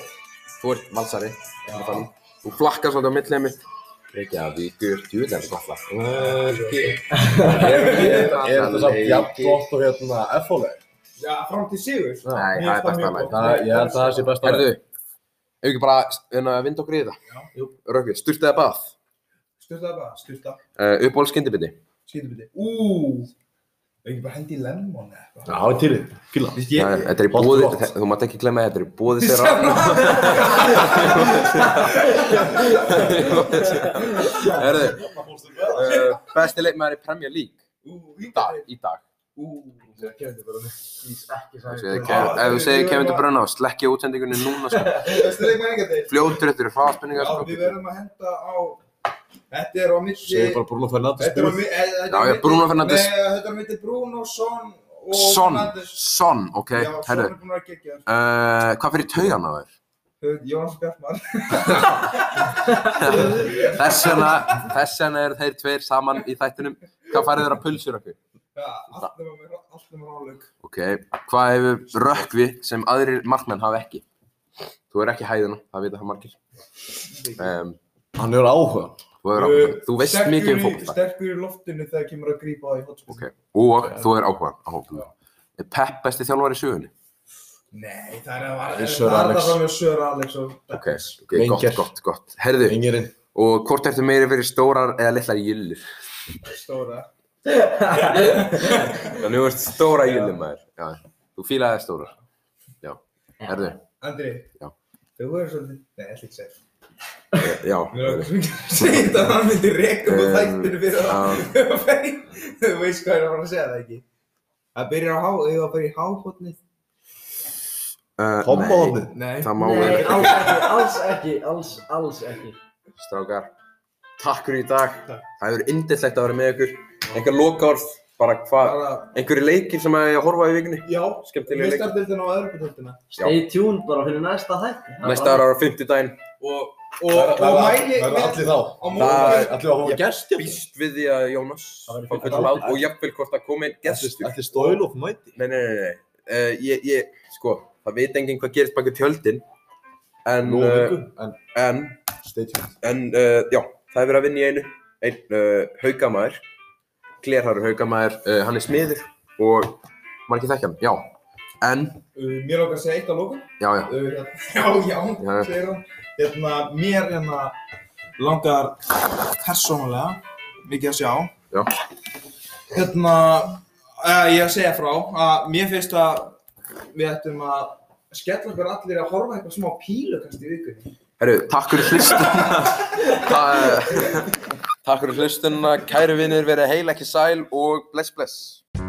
Speaker 1: Þú ert valsari í handbóltanum Þú flakkar svolítið á millið mitt Reykjavíkur, djúðlega gott lag
Speaker 4: Er er þetta samt jafn gott og hérna F-hóleg?
Speaker 2: Já, fram til sigur.
Speaker 1: Nei,
Speaker 2: Mér
Speaker 1: það er
Speaker 2: finnst
Speaker 1: besta
Speaker 2: það mjög
Speaker 1: lag
Speaker 2: gott.
Speaker 4: Ég held að það sé best að
Speaker 1: Herru, ef við ekki bara hérna, vinda okkur í
Speaker 2: Já.
Speaker 1: þetta Rökkvi, sturtaði bað
Speaker 2: Sturta bara, sturta.
Speaker 1: uh, Uppáhald skyndibiti
Speaker 2: Skýtum við þig. Ú, Er ekki bara hendi í lemon eða eitthvað?
Speaker 4: Já, það er til í. Fíla.
Speaker 2: Vist,
Speaker 1: Já,
Speaker 2: ég,
Speaker 1: Þetta er í
Speaker 4: Holt
Speaker 1: bóði,
Speaker 4: gott.
Speaker 1: þe- þú mátt ekki glemja þetta er í bóði þeirra Herðu, eh, Besti leikmaður í Premier League
Speaker 2: Ú,
Speaker 1: í dag, í dag
Speaker 2: ú, það er kefndi bara með. Ís, ekki
Speaker 1: Ef
Speaker 2: sæði.
Speaker 1: þú segir Kevin De Bruyne á slekki útsendingunni núna sko.
Speaker 2: Þessi leikmenn enga þeir.
Speaker 1: Fljótur, þetta eru
Speaker 2: Já,
Speaker 1: hraðspenningar
Speaker 2: við
Speaker 1: sko.
Speaker 2: verðum að henda á... Þetta er á milli...
Speaker 4: Segir bara Bruno Fernandes
Speaker 2: Þetta er á
Speaker 4: búið.
Speaker 2: milli... eh, þetta er
Speaker 1: Já,
Speaker 2: á
Speaker 1: já,
Speaker 2: milli-
Speaker 1: Bruno Fernandes.
Speaker 2: Nei, þetta er á milli Bruno, Son og...
Speaker 1: Son,
Speaker 2: Fernandes.
Speaker 1: son, ok,
Speaker 2: Já, Son
Speaker 1: herru
Speaker 2: er búin að gegja.
Speaker 1: uh, Hvað fyrir taugan á þér?
Speaker 2: Jónas Bjartmar.
Speaker 1: Þess vegna, þess vegna eru þeir tveir saman í þættinum Hvað farið þeir að pulsur okkur?
Speaker 2: Já, allt nema allt nema ráleik.
Speaker 1: Ok, hvað hefur rökkvi sem aðrir markmenn hafa ekki? Þú er ekki hæðina, það vita það margir. Um,
Speaker 4: Hann hefur áhuga.
Speaker 1: þú, er áhuga. þú veist
Speaker 2: Eh, Sterkur
Speaker 1: mikið um
Speaker 2: í-
Speaker 1: fókbalta
Speaker 2: Sterkur í loftinu þegar kemur að grípa á í hotspot.
Speaker 1: Ok. og þú er áhuga á hópum. Er Pep besti þjálfari í sögunni?
Speaker 2: Nei, það er að var...
Speaker 4: Það er Sir
Speaker 2: það
Speaker 4: Alex.
Speaker 2: Það var Sör Alex og...
Speaker 1: Ok, ok, gott,
Speaker 4: Wenger.
Speaker 1: gott, gott. Herðu,
Speaker 4: Engirinn.
Speaker 1: og hvort ertu meiri fyrir stórar eða litlar jillir?
Speaker 2: Stóra.
Speaker 1: Þannig þú ert stóra
Speaker 2: Já.
Speaker 1: jillir maður. Já, þú fílaði stórar. Já, herðu,
Speaker 2: Andri.
Speaker 1: Já.
Speaker 2: Þau voru svolítið... Nei, ég ætla ekki að segja.
Speaker 1: eh, já.
Speaker 2: Mér var að segja þetta að hann myndi reka um
Speaker 1: Um,
Speaker 2: þættinu fyrir
Speaker 1: já.
Speaker 2: það. Þú veist hvað ég er að fara að segja það ekki. Það byrjar á há, eða það byrjar í háhotnið.
Speaker 1: Uh,
Speaker 4: Hommaðið.
Speaker 2: Nei.
Speaker 1: það má
Speaker 5: Nei,
Speaker 1: ekki.
Speaker 5: alls ekki, alls ekki, alls, alls ekki.
Speaker 1: Strákar, takk fyrir í dag.
Speaker 2: Takk.
Speaker 1: Það hefur indislegt að vera með ykkur. Einhver lokaorð, bara hvað,
Speaker 2: Bara,
Speaker 1: einhverju leikir sem að ég að horfa í vikunni.
Speaker 2: já,
Speaker 1: Skemmtilega leikir.
Speaker 2: mistardildina og öðrugutöldina.
Speaker 5: Stay tuned bara fyrir næsta þætti.
Speaker 1: Næsta ára á 50 daginn.
Speaker 2: Og,
Speaker 4: Það
Speaker 2: og,
Speaker 4: er-
Speaker 2: og
Speaker 4: það er-
Speaker 2: mæli...
Speaker 4: Það er allir þá.
Speaker 2: Á
Speaker 1: Það
Speaker 2: morgun.
Speaker 1: er-
Speaker 4: Allir að hafa hérna.
Speaker 1: Ég
Speaker 4: gæst.
Speaker 1: Býst við því að Jónas
Speaker 5: Það verður
Speaker 1: fá
Speaker 5: fyrir
Speaker 1: full lát og jafnvel hvort að koma einn gestur.
Speaker 4: Allir stóil og mæti.
Speaker 1: Nei, nei, nei, nei. Uh, ég, ég, sko, það veit enginn hvað gerist baka tjöldin. En,
Speaker 4: Nú eh, og
Speaker 1: uh,
Speaker 4: viku. En
Speaker 1: en,
Speaker 4: stay tuned.
Speaker 1: en, uh, já, það hefur verið að vinna í einu. Einn uh, haugamæður, Klerharur haugamæður, uh, hann er smiður og margir þekkja hann, já. En,
Speaker 2: Uh, Mér lókar að segja eitt á lókun.
Speaker 1: já, já,
Speaker 2: Uh, hérna- já,
Speaker 1: Já.
Speaker 2: já, segir hann. Hérna, mér hérna langar persónulega mikið að sjá.
Speaker 1: Já.
Speaker 2: Hérna, uh, ég að segja frá að mér finnst að við ættum að skella okkur allir að horfa eitthvað smá pílukast í vikunni.
Speaker 1: Herru, takk fyrir hlustunna Ta- Takk fyrir hlustunna, kæru vinir, verið heil ekki sæl og bless bless